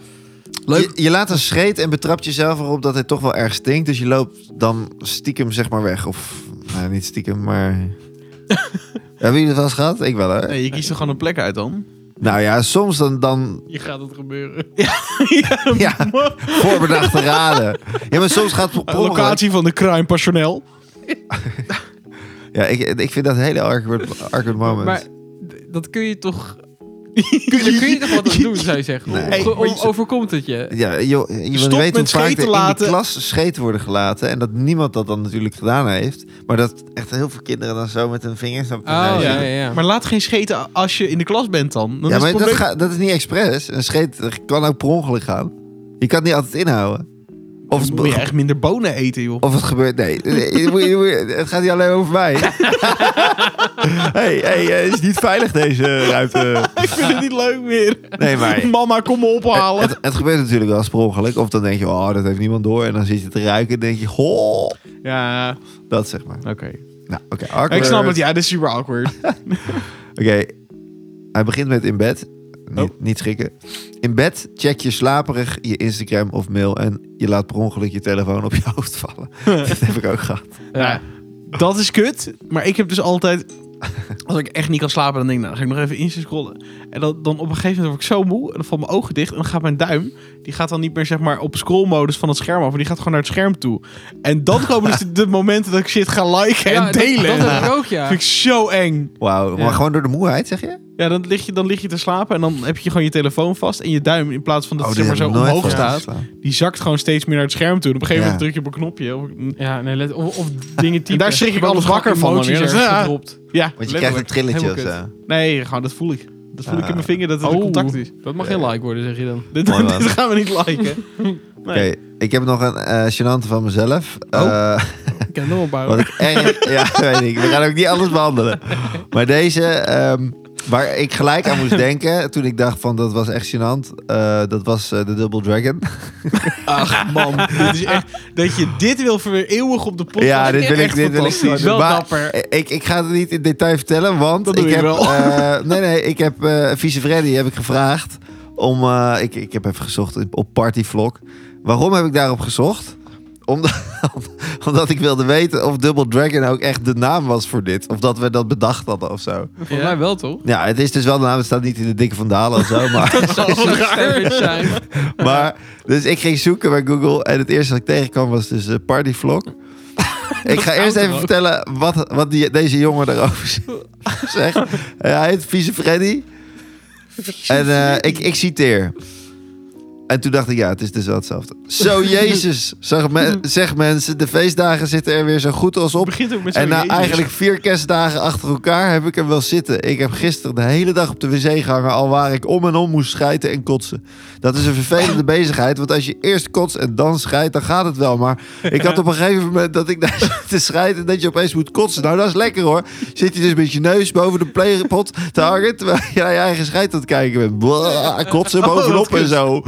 A: Leuk.
B: Je, je laat een scheet en betrapt jezelf erop dat het toch wel erg stinkt. Dus je loopt dan stiekem zeg maar weg. Of nou, niet stiekem, maar...
C: *laughs*
B: Hebben jullie dat wel eens gehad? Ik wel, hè?
A: Nee, je kiest er gewoon een plek uit dan.
B: Nou ja, soms dan,
C: *laughs*
B: dan
C: Je gaat het
A: *laughs*
C: gebeuren.
B: ja, voorbedachte raden. Ja, maar soms gaat het per ongeluk-
A: locatie van de crime personeel.
B: Ja, ik, ik vind dat een hele awkward, awkward moment.
C: Maar d- dat kun je
A: *laughs*
C: toch... Kun, daar kun je toch wat aan doen, zou je zeggen?
B: Nee.
C: Of- of- of- overkomt het je?
B: Ja, joh, je
A: Stop
B: weet hoe
A: met
B: vaak
A: scheten
B: er in
A: laten.
B: die klas scheten worden gelaten. En dat niemand dat dan natuurlijk gedaan heeft. Maar dat echt heel veel kinderen dan zo met hun vingers op
C: Oh,
B: de
C: ja,
B: neus.
C: ja, ja.
A: Maar laat geen scheten als je in de klas bent dan. dan
B: Ja,
A: is
B: maar
A: het
B: dat,
A: probleem-
B: ga- dat is niet expres. Een scheet kan ook per ongeluk gaan. Je kan het niet altijd inhouden. Of Oh. het,
A: Moet je echt minder bonen eten, joh.
B: of het gebeurt. Nee, Nee, je moet- je moet- het gaat niet alleen over mij. hey, hey, eh, het is niet veilig deze ruimte.
A: *laughs* Ik vind het niet leuk meer. *laughs*
B: Nee, maar.
A: Mama, kom me ophalen.
B: Het, het gebeurt natuurlijk wel eens per ongeluk. Of dan denk je, oh, dat heeft niemand door. En dan zit je te ruiken en denk je, goh.
A: Ja,
B: Dat zeg maar.
A: oké.
B: Nou, oké.
A: Ik
B: awkward.
A: snap het, ja, dit is super awkward.
B: Oké, hij begint met in bed. Niet,
A: Oh.
B: niet schrikken. In bed check je slaperig je Instagram of mail en je laat per ongeluk je telefoon op je *laughs* hoofd
A: *laughs*
B: vallen. dat heb ik ook gehad.
A: Ja. Dat is kut, maar ik heb dus
B: *laughs*
A: altijd... Als ik echt niet kan slapen, dan denk ik, nou, dan ga ik nog even Insta scrollen. En dan, dan op een gegeven moment word ik zo moe, en dan vallen mijn ogen dicht. En dan gaat mijn duim, die gaat dan niet meer zeg maar op scrollmodus van het scherm af. Maar die gaat gewoon naar het scherm toe. En dan komen dus
B: *laughs*
A: de, de momenten dat ik shit ga liken en
C: Ja, dat-
A: delen.
C: Dat, heb ik ook,
A: Dat
C: ja.
A: vind ik zo eng.
B: Wauw,
A: Ja.
B: maar gewoon door de moeheid zeg je? Oh,
A: Ja, dan lig, je, dan lig je te slapen en dan heb je gewoon je telefoon vast. En je duim, in plaats van dat het
B: dit
A: zeg maar zo
B: Oh, heb ik nooit
A: omhoog
B: van
A: staat,
B: geslaan.
A: die zakt gewoon steeds meer naar het scherm toe. En op een gegeven
B: Ja.
A: moment druk je op een knopje. Of,
C: Ja, nee, let, of, of dingen typen.
A: En daar schrik ik
C: Gewoon
A: alles
C: gewoon
A: wakker van dan
C: emoties
A: weer.
C: ergens
A: Ja.
C: gedropt.
A: ja,
B: Want je krijgt een
A: letterlijk.
B: trilletje of
C: Helemaal
B: zo.
A: Nee, gewoon, dat voel ik. Dat voel ik
B: Ah.
A: in mijn vinger dat het een
C: Oh,
A: contact is. *laughs*
C: Dat mag geen like worden, zeg je dan.
A: Dit,
B: Mooi,
A: dit
B: man.
A: gaan we niet
B: *laughs*
A: liken.
B: Oké, ik heb nog een eh gênante van mezelf.
A: Oh.
B: Eh,
C: Ik kan het nog opbouwen.
B: Wat ik erg...
A: *laughs*
B: Ja, weet ik. We gaan ook niet alles behandelen. Maar deze, ehm, waar ik gelijk aan moest denken toen ik dacht van dat was echt gênant. eh, dat was eh, de Double Dragon.
A: Ach man, dit is echt, dat je dit wil voor eeuwig op de podcast.
B: ja, dit
A: is
B: wil ik,
A: echt
B: dit wil ik
A: fantastisch.
B: gewoon doen.
C: Wel
B: Maar
C: dapper.
B: Ik, ik ga het niet in detail vertellen, want
A: Dat doe
B: ik
A: je
B: heb,
A: wel. *laughs*
B: eh, nee, nee, ik heb eh vieze Freddy heb ik gevraagd om, eh, ik, ik heb even gezocht op Partyvlog. Waarom heb ik daarop gezocht? Omdat, *laughs* omdat ik wilde weten of Double Dragon ook echt de naam was voor dit. Of dat we dat bedacht hadden of zo.
C: Volgens
A: Ja.
C: mij wel, toch?
B: Ja, het is dus wel de naam. Het staat niet in de dikke vandalen of zo. Maar,
A: Oh, *laughs* Dat zou
C: Zou
A: wel
C: het
A: raar
C: steeds
A: zijn.
C: zijn.
B: maar dus ik ging zoeken bij Google. En het eerste wat ik tegenkwam was dus eh, Party Vlog. ik ga eerst
C: oud
B: even
C: ook.
B: vertellen wat, wat die, deze jongen daarover *laughs* zegt. Eh, hij heet Vieze Freddy. En eh, ik, ik citeer. En toen dacht ik, ja, het is dus wel hetzelfde. Zo, Jezus, zag me, zeg mensen, de feestdagen zitten er weer zo goed als
A: Het
B: op.
A: begint ook met zo'n
B: En na
A: jezus.
B: eigenlijk vier kerstdagen achter elkaar heb ik hem wel zitten. Ik heb gisteren de hele dag op de wc gehangen, al waar ik om en om moest schijten en kotsen. Dat is een
A: *laughs*
B: vervelende bezigheid, want als je eerst kotst en dan scheidt, dan gaat het wel.
A: *laughs*
B: Maar ik had op een gegeven moment dat ik *laughs* daar zat te schijten en dat je opeens moet kotsen. Nou, dat is lekker hoor. Zit je dus met je neus boven de pleegpot te hangen, terwijl *laughs* je naar je eigen schijt aan het kijken bent. Blah,
A: *laughs*
B: kotsen bovenop en zo.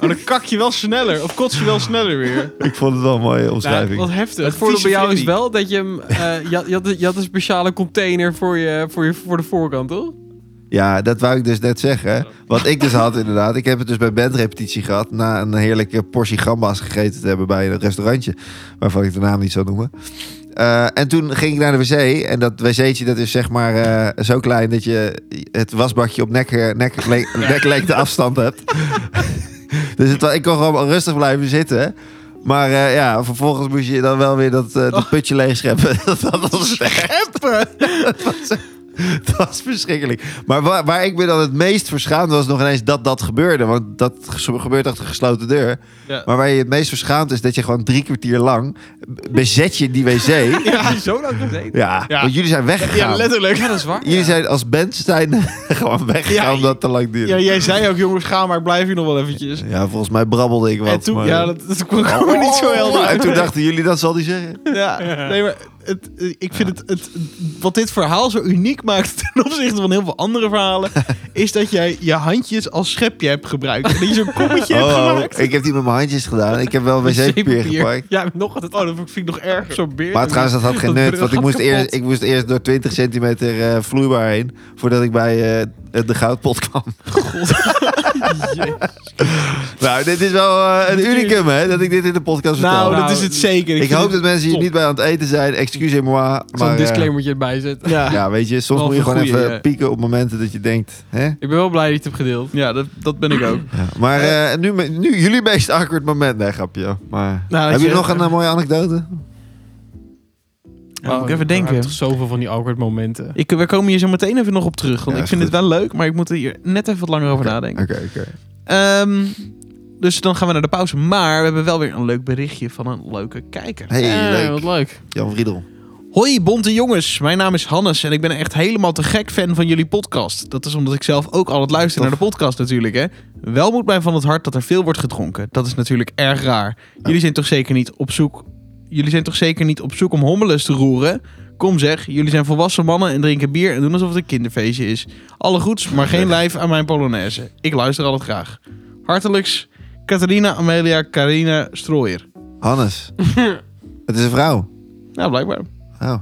A: Oh, dan kak je wel sneller. Of kots je wel sneller
B: *laughs*
A: weer.
B: Ik vond het wel een mooie omschrijving.
A: Nou, wat heftig.
C: Het voordeel bij
A: Vieze
C: jou is
A: Freddy.
C: wel dat je hem... eh, je, had, je, had, een- je had een speciale container voor, je, voor, je, voor de voorkant, toch?
B: Ja, dat wou ik dus net zeggen. Wat ik dus had inderdaad. Ik heb het dus bij bandrepetitie gehad. Na een heerlijke portie gamba's gegeten te hebben bij een restaurantje. Waarvan ik de naam niet zou noemen. Eh, en toen ging ik naar de wc. En dat wc'tje dat is zeg maar eh, zo klein dat je het wasbakje op nek, eh, nek, le- neklengte afstand hebt. *laughs* dus het, wa- ik kon gewoon rustig blijven zitten. Maar eh, ja, vervolgens moest je dan wel weer dat, eh, dat putje leegscheppen. *laughs* dat was echt *laughs* het was verschrikkelijk. Maar waar, waar ik me dan het meest verschaamd was nog ineens dat dat gebeurde. Want dat ge- gebeurt achter gesloten deur.
A: Ja.
B: Maar waar je het meest verschaamd is dat je gewoon drie kwartier lang b- bezet je die wc.
A: *laughs*
C: Ja. nou? Zo lang gezeten.
B: Ja,
A: Ja.
B: want jullie zijn weggegaan.
A: Ja,
B: *laughs*
A: letterlijk.
C: Ja, dat is waar.
B: jullie zijn als band zijn *laughs* gewoon weggegaan
A: Ja,
B: omdat het te lang duurde.
A: Ja,
B: Ja,
A: jij zei ook, jongens, ga maar, ik blijf hier nog wel eventjes.
B: volgens mij brabbelde ik wat.
A: en toen,
B: maar- Oh,
A: ja, dat, *laughs* dat kwam gewoon niet zo heel
B: En
A: lang.
B: toen dachten jullie, dat zal die zeggen.
A: Ja, nee, maar het, eh, ik vind het, het, wat dit verhaal zo uniek maakt *laughs* ten opzichte van heel veel andere
B: *laughs*
A: verhalen, is dat jij je handjes als schepje hebt gebruikt. En dat *laughs* je zo'n *laughs* kommetje hebt
B: Oh,
A: gemaakt.
B: ik heb die met mijn handjes gedaan. Ik heb
A: *laughs*
B: wel wc-papier
C: Zeepapier.
B: gepakt.
C: Ja, nog altijd.
A: Oh, dat vind ik nog erger.
C: Zo'n beer.
B: Maar trouwens, dat had geen
C: Dat
B: nut.
C: bril
B: Want ik
C: gaat
B: moest,
C: kapot.
B: eerst, ik moest eerst door 20 centimeter eh, vloeibaar heen. Voordat ik bij eh, de goudpot kwam. *laughs* nou, dit is wel eh, een unicum, hè? Dat ik dit in de podcast vertel.
A: Nou, dat
C: Nou,
A: is het zeker.
B: ik
A: vind
B: hoop
A: het-
B: dat mensen hier
A: top.
B: niet bij aan het eten zijn. Excusez-moi.
C: Ik zal
B: Maar
C: een
B: eh,
C: disclaimertje erbij zetten.
A: Ja, ja.
B: ja, weet je, soms
C: Wel
B: moet je
C: een
B: gewoon
C: goeie,
B: even
C: ja.
B: pieken op momenten dat je denkt. Hè?
C: Ik ben wel blij dat je het hebt gedeeld.
A: dat, dat ben ik
B: *laughs*
A: ook.
B: Ja. Maar eh, nu, nu jullie meest awkward moment. Nee, grapje. Maar,
A: Nou,
B: heb
A: als
B: je,
A: je-
B: nog een eh, mooie anekdote?
A: moet ik even
C: Er
A: denken.
C: waren toch zoveel van die awkward momenten.
A: Ik, we komen hier zo meteen even nog op terug, want
B: Ja,
A: ik
B: is
A: vind het wel
B: goed.
A: leuk, maar ik moet er hier net even wat langer over nadenken.
B: Oké, oké.
A: Ehm, dus dan gaan we naar de pauze. Maar we hebben wel weer een leuk berichtje van een leuke kijker.
B: Hey,
C: Eh,
B: leuk.
C: wat leuk.
B: Jan Vriedel.
A: Hoi bonte jongens, mijn naam is Hannes en ik ben echt helemaal te gek fan van jullie podcast. Dat is omdat ik zelf ook altijd luister
B: Tof.
A: naar de podcast natuurlijk hè. Wel moet mij van het hart dat er veel wordt gedronken. Dat is natuurlijk erg raar. Jullie zijn toch zeker niet op zoek, jullie zijn toch zeker niet op zoek om hommeles te roeren? Kom zeg, jullie zijn volwassen mannen en drinken bier en doen alsof het een kinderfeestje is. Alle goeds, maar geen lijf aan mijn Polonaise. Ik luister altijd graag. Hartelijks, Catharina Amelia Carina Strooier. *laughs*
B: Hannes. het is een vrouw.
A: Nou, blijkbaar.
B: Oh. Nou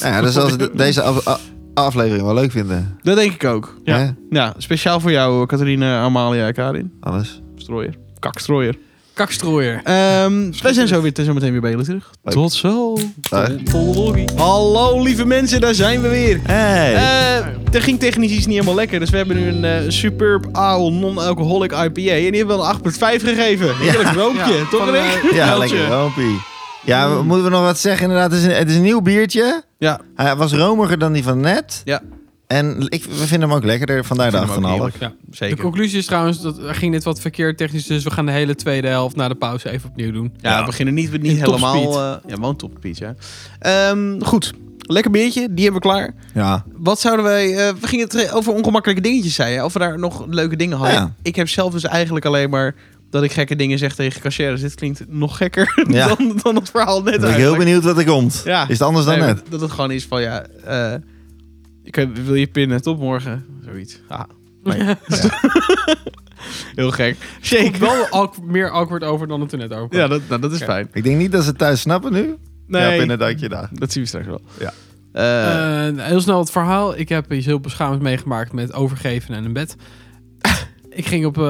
B: ja, dus als ze de-
A: *laughs*
B: deze af- a- aflevering wel leuk vinden.
A: Dat denk ik ook.
C: Ja.
B: Hè?
A: Ja, speciaal voor jou, eh, Catharine, Amalia, Karin.
B: Hannes.
A: Strooier. Kakstrooier.
C: Kakstrooier.
A: Ehm wij zijn zo, weer, zo meteen weer bij jullie terug.
B: Leuk.
A: Tot zo.
B: Dag.
C: Tolologie.
A: Hallo, lieve mensen, daar zijn we weer.
B: Hey.
A: Eh, er ging technisch iets niet helemaal lekker, dus we hebben nu een eh, superb AOL non-alcoholic IPA. En die hebben we een 8.5 gegeven. Heerlijk roompje,
C: Ja,
A: toch
C: van,
A: Rick?
C: eh,
B: ja,
C: Kuiltje.
B: lekker rompie. Ja,
A: Mm.
B: we- moeten we nog wat zeggen? Inderdaad, het is een, het is een nieuw biertje.
A: Ja,
B: Hij was romiger dan die van net.
A: Ja.
B: En ik, we vinden hem ook lekkerder. Vandaar de
A: Ik vind hem ook
B: 8,5.
A: heerlijk.
C: Ja. De
A: zeker.
C: conclusie is trouwens, dat er ging dit wat verkeerd technisch, dus we gaan de hele tweede helft na de pauze even opnieuw doen.
A: Ja, we beginnen niet, niet
C: In
A: helemaal...
C: topspeed.
A: eh, ja, gewoon topspeed, ja. Ehm, goed, lekker biertje, die hebben we klaar.
B: Ja.
A: Wat zouden wij... eh, we gingen het over ongemakkelijke dingetjes, zei je. Of we daar nog leuke dingen hadden.
B: Ja.
A: Ik heb zelf dus eigenlijk alleen maar dat ik gekke dingen zeg tegen cashiers. Dit klinkt nog gekker *laughs*
B: Ja.
A: dan, dan het verhaal net
B: Dan ben ik heel
A: eigenlijk.
B: benieuwd wat er komt.
A: Ja.
B: Is het anders dan
A: Nee,
B: net?
A: Dat het gewoon is van, ja... eh, ik heb- wil je pinnen? Tot morgen. Zoiets. Ah, nee. *laughs* heel gek.
C: Ik
A: Shake.
C: wel awk- meer awkward over dan het er net over.
A: Ja, dat, nou, dat is
C: Oké.
A: fijn.
B: Ik denk niet dat ze het thuis snappen nu.
A: Nee,
B: Ja, binnen duikje daar.
A: dat zien we straks wel.
B: Ja.
A: Eh,
C: Eh, heel snel het verhaal. Ik heb iets heel beschamends meegemaakt met overgeven en een bed. *laughs* ik ging op eh,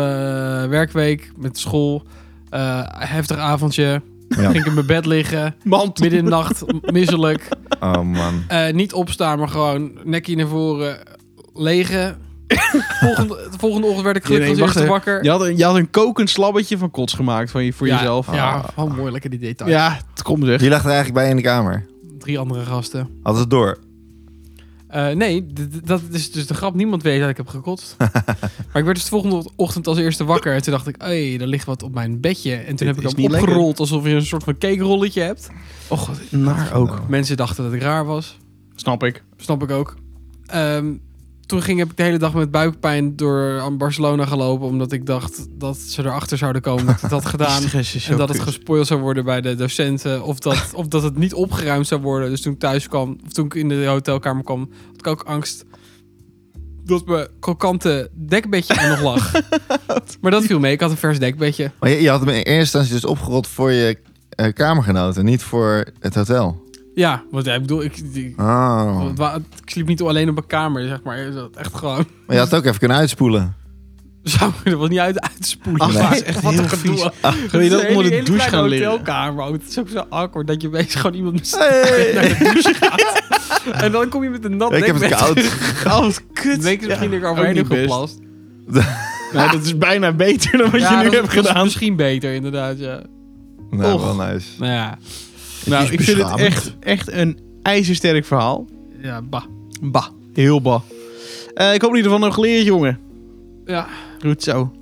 C: werkweek met school. eh, heftig avondje.
B: Ja.
C: Ging ik in mijn bed liggen.
A: mand.
C: Midden in de nacht. m- Misselijk.
B: Oh man.
C: Eh, niet opstaan, maar gewoon nekje naar voren. Legen. volgende, de volgende ochtend werd ik
A: Nee, nee,
C: gelukkig als
A: wacht
C: eerste
A: even.
C: wakker.
A: Je had, een, je had een kokend slabbetje van kots gemaakt van je, voor
C: Ja,
A: jezelf.
C: Ja, oh, mooi. Lekker die details.
A: Ja, het komt zeg.
B: Die lag er eigenlijk bij in de kamer.
C: Drie andere gasten.
B: Hadden ze door.
C: Eh, nee, d- d- dat is dus de grap. Niemand weet dat ik
A: *laughs*
C: heb gekotst. maar ik werd dus de volgende ochtend als eerste wakker. En toen dacht ik, hé, er ligt wat op mijn bedje. En toen heb
A: is
C: ik hem
A: niet lekker.
C: opgerold alsof je een soort van cakerolletje hebt.
A: Och, wat naar ook.
C: Mensen dachten dat ik raar was.
A: Snap ik.
C: Snap ik ook. Ehm, toen ging, heb ik de hele dag met buikpijn door aan Barcelona gelopen. Omdat ik dacht dat ze erachter zouden komen dat ik dat had
A: *laughs*
C: gedaan. En dat het gespoild zou worden bij de docenten. Of
A: *laughs*
C: dat, of dat het niet opgeruimd zou worden. Dus toen ik thuis kwam, of toen ik in de hotelkamer kwam, had ik ook angst dat mijn krokante dekbedje er nog
A: *laughs*
C: lag. maar dat viel mee. Ik had een vers dekbedje.
B: Maar je, je had hem in eerste instantie dus opgerold voor je eh, kamergenoten, niet voor het hotel.
C: Ja, want ja, ik bedoel, ik, ik,
B: Oh.
C: het wa- ik sliep niet alleen op mijn kamer, zeg maar. Dat Echt gewoon. *laughs*
B: Maar je had het ook even kunnen uitspoelen.
C: Zou ik er was niet uit, uitspoelen.
A: Ach,
B: Nee.
A: dat is echt
C: Wat
A: heel
C: een gedoe.
A: vies.
C: Het
A: Wil je
C: is
A: dat
C: een
A: onder
C: hele-
A: de
C: hele
A: douche gaan
C: kleine
A: liggen?
C: hotelkamer ook. Het is ook zo awkward dat je bezig gewoon iemand met z'n
B: Hey.
C: *laughs* naar de douche gaat.
A: *laughs*
C: en dan kom je met een nat
B: Ik heb het
C: dekbed
B: koud.
C: *laughs*
A: Oh, wat kut.
C: Dan denk je misschien
A: Ja,
C: dat ik er overheen heb
A: ook niet best.
C: geplast.
A: Nou, dat is bijna beter dan wat
C: Ja,
A: je nu
C: dat-
A: hebt
C: dat is
A: gedaan.
C: misschien beter, inderdaad. Ja.
B: Nou,
A: Och.
B: wel nice.
C: Nou ja,
A: Nou,
B: is
A: ik vind het
B: beschamend.
A: echt, echt een ijzersterk verhaal.
C: ja bah.
A: Bah. Heel bah. Eh, ik hoop in ieder geval nog leert, jongen.
C: Ja,
A: Goed zo.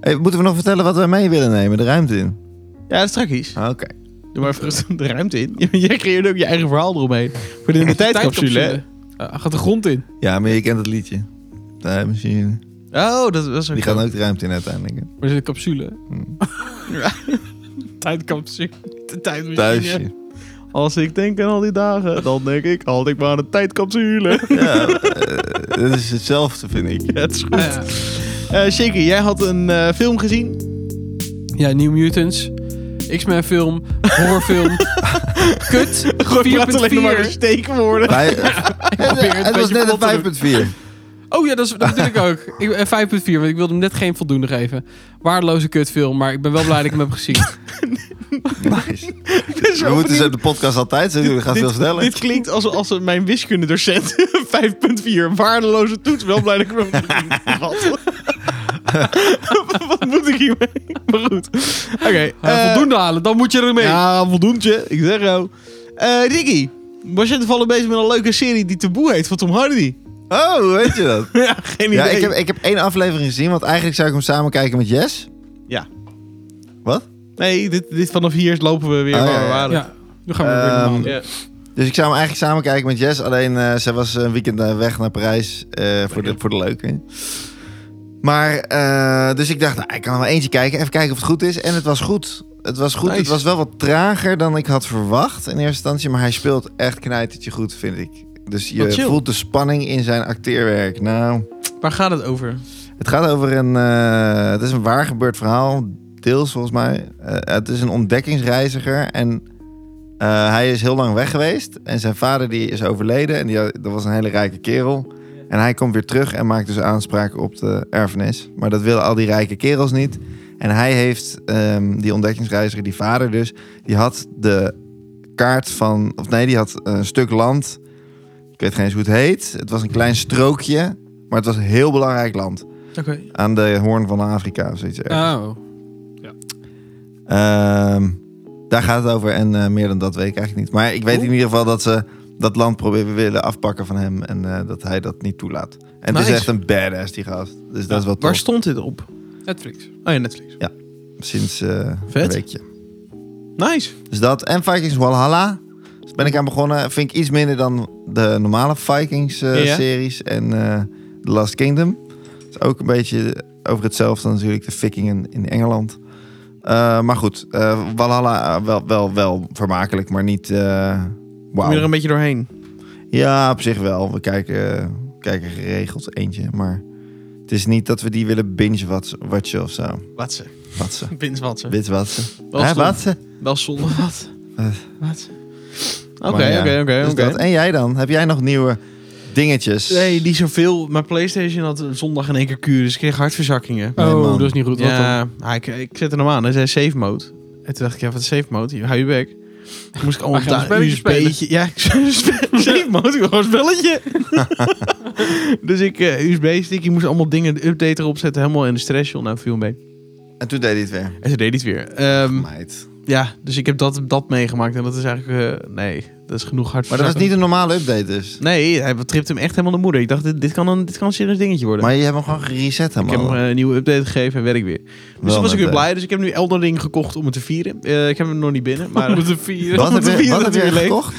B: Hey, moeten we nog vertellen wat we mee willen nemen? De ruimte in.
A: Ja, straks.
B: Ah, Oké.
A: Doe maar even rustig de ruimte in. *laughs* Jij creëert ook je eigen verhaal eromheen. Voor
C: *laughs*
A: de, de tijdcapsule. hè?
C: Ja, Eh, gaat de grond in.
B: Ja, maar je kent het liedje. Tijdmachine.
A: Oh, dat was ook
B: Die gaan ook de ruimte in uiteindelijk. hè.
C: Maar er zit een capsule.
B: Hm.
C: Tijdcapsule.
A: de tijdmachine.
B: Thuisje.
A: Als ik denk aan al die dagen, dan denk ik altijd maar aan de tijdcapsule. *laughs*
B: Ja, eh, dat is hetzelfde, vind ik.
A: Ja, het is goed.
C: Ah, ja.
A: Eh, Shaky, jij had een eh, film gezien.
C: ja, New Mutants. X-Men film. Horrorfilm. *laughs* Kut. 4.4.
A: Gooi praat alleen nog maar de *laughs* steekwoorden.
B: Wij- *laughs* het was
C: beetje vlot te doen.
B: net een 5.4.
C: Oh ja, dat, is, dat bedoel ik ook. Ik, eh, 5.4, want ik wilde hem net geen voldoende geven. Waardeloze kutfilm, maar ik ben wel blij dat ik hem heb *laughs* gezien.
B: Nice. We moeten ze de podcast altijd zo doen. Dat gaat
A: dit,
B: veel sneller.
A: Dit klinkt als, als een- mijn wiskundedocent *laughs* 5.4. Waardeloze toets. Wel blij dat ik hem heb gezien. Wat? *laughs* Wat moet ik hiermee? Maar goed. Oké.
C: Eh,
A: eh,
C: voldoende halen, dan moet je ermee.
A: Ja, voldoende. Ik zeg jou. Eh, Ricky, was jij toevallig bezig met een leuke serie die Taboe heet van Tom Hardy? *laughs*
B: Oh, weet je dat?
A: ja, geen idee.
B: Ja, ik heb, ik heb één aflevering gezien, want eigenlijk zou ik hem samen kijken met Jess.
A: Ja.
B: Wat?
A: Nee, dit, dit vanaf hier lopen we weer
B: Oh,
A: waar
B: ja,
A: we
B: ja.
A: waren.
C: Ja, nu gaan we weer normaal
B: Ehm,
C: doen.
A: Ja.
B: Dus ik zou hem eigenlijk samen kijken met Jess. Alleen eh, zij was een weekend eh, weg naar Parijs eh, voor, de, voor de leuke. Maar, eh, dus ik dacht, nou, ik kan er maar eentje kijken. Even kijken of het goed is. En het was goed. Het was goed.
A: Nice.
B: Het was wel wat trager dan ik had verwacht in eerste instantie. Maar hij speelt echt knijtertje goed, vind ik. Dus
A: Wat
B: je
A: chill.
B: voelt de spanning in zijn acteerwerk. Nou,
A: Waar gaat het over?
B: het gaat over een. eh, het is een waar gebeurd verhaal, deels volgens mij. Eh, het is een ontdekkingsreiziger en eh, hij is heel lang weg geweest. En zijn vader die is overleden en die, had- dat was een hele rijke kerel. En hij komt weer terug en maakt dus aanspraak op de erfenis. Maar dat willen al die rijke kerels niet. En hij heeft, ehm, die ontdekkingsreiziger, die vader dus, die had de kaart van, of nee, die had een stuk land. Ik weet geen eens hoe het heet. Het was een klein strookje, maar het was een heel belangrijk land
C: Oké.
B: aan de hoorn van Afrika of zoiets. ergens.
C: Oh.
B: Ehm, daar gaat het over en eh, meer dan dat weet ik eigenlijk niet. Maar ik weet in ieder geval dat ze dat land proberen willen afpakken van hem en eh, dat hij dat niet toelaat. En het
A: Nice.
B: is echt een badass die gast. Dus dat is wel
A: Waar
B: tof.
A: stond dit op?
C: Netflix.
A: Oh ja, Netflix.
B: Sinds eh, een
A: Vet.
B: weekje.
A: Nice.
B: Dus dat en Vikings Valhalla. Dus ben ik aan begonnen. Vind ik iets minder dan de normale Vikings eh,
A: Ja, ja.
B: series en eh, The Last Kingdom. Het is ook een beetje over hetzelfde natuurlijk de vikingen in Engeland. Eh, maar goed, eh, Valhalla eh, wel, wel, wel vermakelijk, maar niet eh
A: Kom je er
B: wauw.
A: een beetje doorheen?
B: Ja, op zich wel. We kijken, we kijken geregeld eentje, maar het is niet dat we die willen binge-watchen of zo.
A: Wat ze.
B: Watsen.
A: *laughs* Wins wat ze.
B: Witwatsen.
A: Wel
B: Hè,
A: stom.
B: watsen?
A: Wel zonder *laughs* wat.
B: Eh.
A: Wat?
B: Maar
A: Oké,
B: ja,
A: oké, oké,
B: dus dat.
A: oké.
B: En jij dan? Heb jij nog nieuwe dingetjes?
A: Nee, die zoveel. Mijn PlayStation had eh, zondag in één keer kuur, dus ik kreeg hartverzakkingen.
B: Nee,
C: oh,
B: man.
C: dat is niet goed. Wat dan?
A: Ja, ah, ik, ik zet hem aan. Hij zei safe mode. En toen dacht ik, ja, wat is safe mode? Je- Hou je bek. Toen moest ik
B: Ah,
A: allemaal
C: Maar ga je
A: daar een
C: een spelletje
A: USB'tje... Ja, ik zei,
B: *laughs*
A: spe- safe mode, ik wil gewoon een spelletje. *laughs* dus ik, eh USB-sticky, moest allemaal dingen, de update erop zetten. Helemaal in de stress, joh. Nou, viel hem mee.
B: En toen deed hij het weer.
A: En ze deed iets weer. Ehm,
B: Meid.
A: ja, dus ik heb dat, dat meegemaakt. En dat is eigenlijk... eh, nee, dat is genoeg hard.
B: Maar dat was niet een normale update dus.
A: Nee, hij tript hem echt helemaal de moeder. Ik dacht, dit, dit, kan, een, dit kan een serieus dingetje worden.
B: Maar je hebt hem gewoon gereset
A: ik heb
B: helemaal.
A: hem eh, een nieuwe update gegeven en werk weer. Dus toen was
B: eh,
A: ik weer blij. Dus ik heb nu Elden Ring gekocht om het te vieren. Eh, ik heb hem nog niet binnen. *laughs* Maar
C: Om te vieren.
B: Wat heb
A: Om te
B: je,
A: vieren
B: wat heb
A: dat
B: je
A: hij weer
B: gekocht?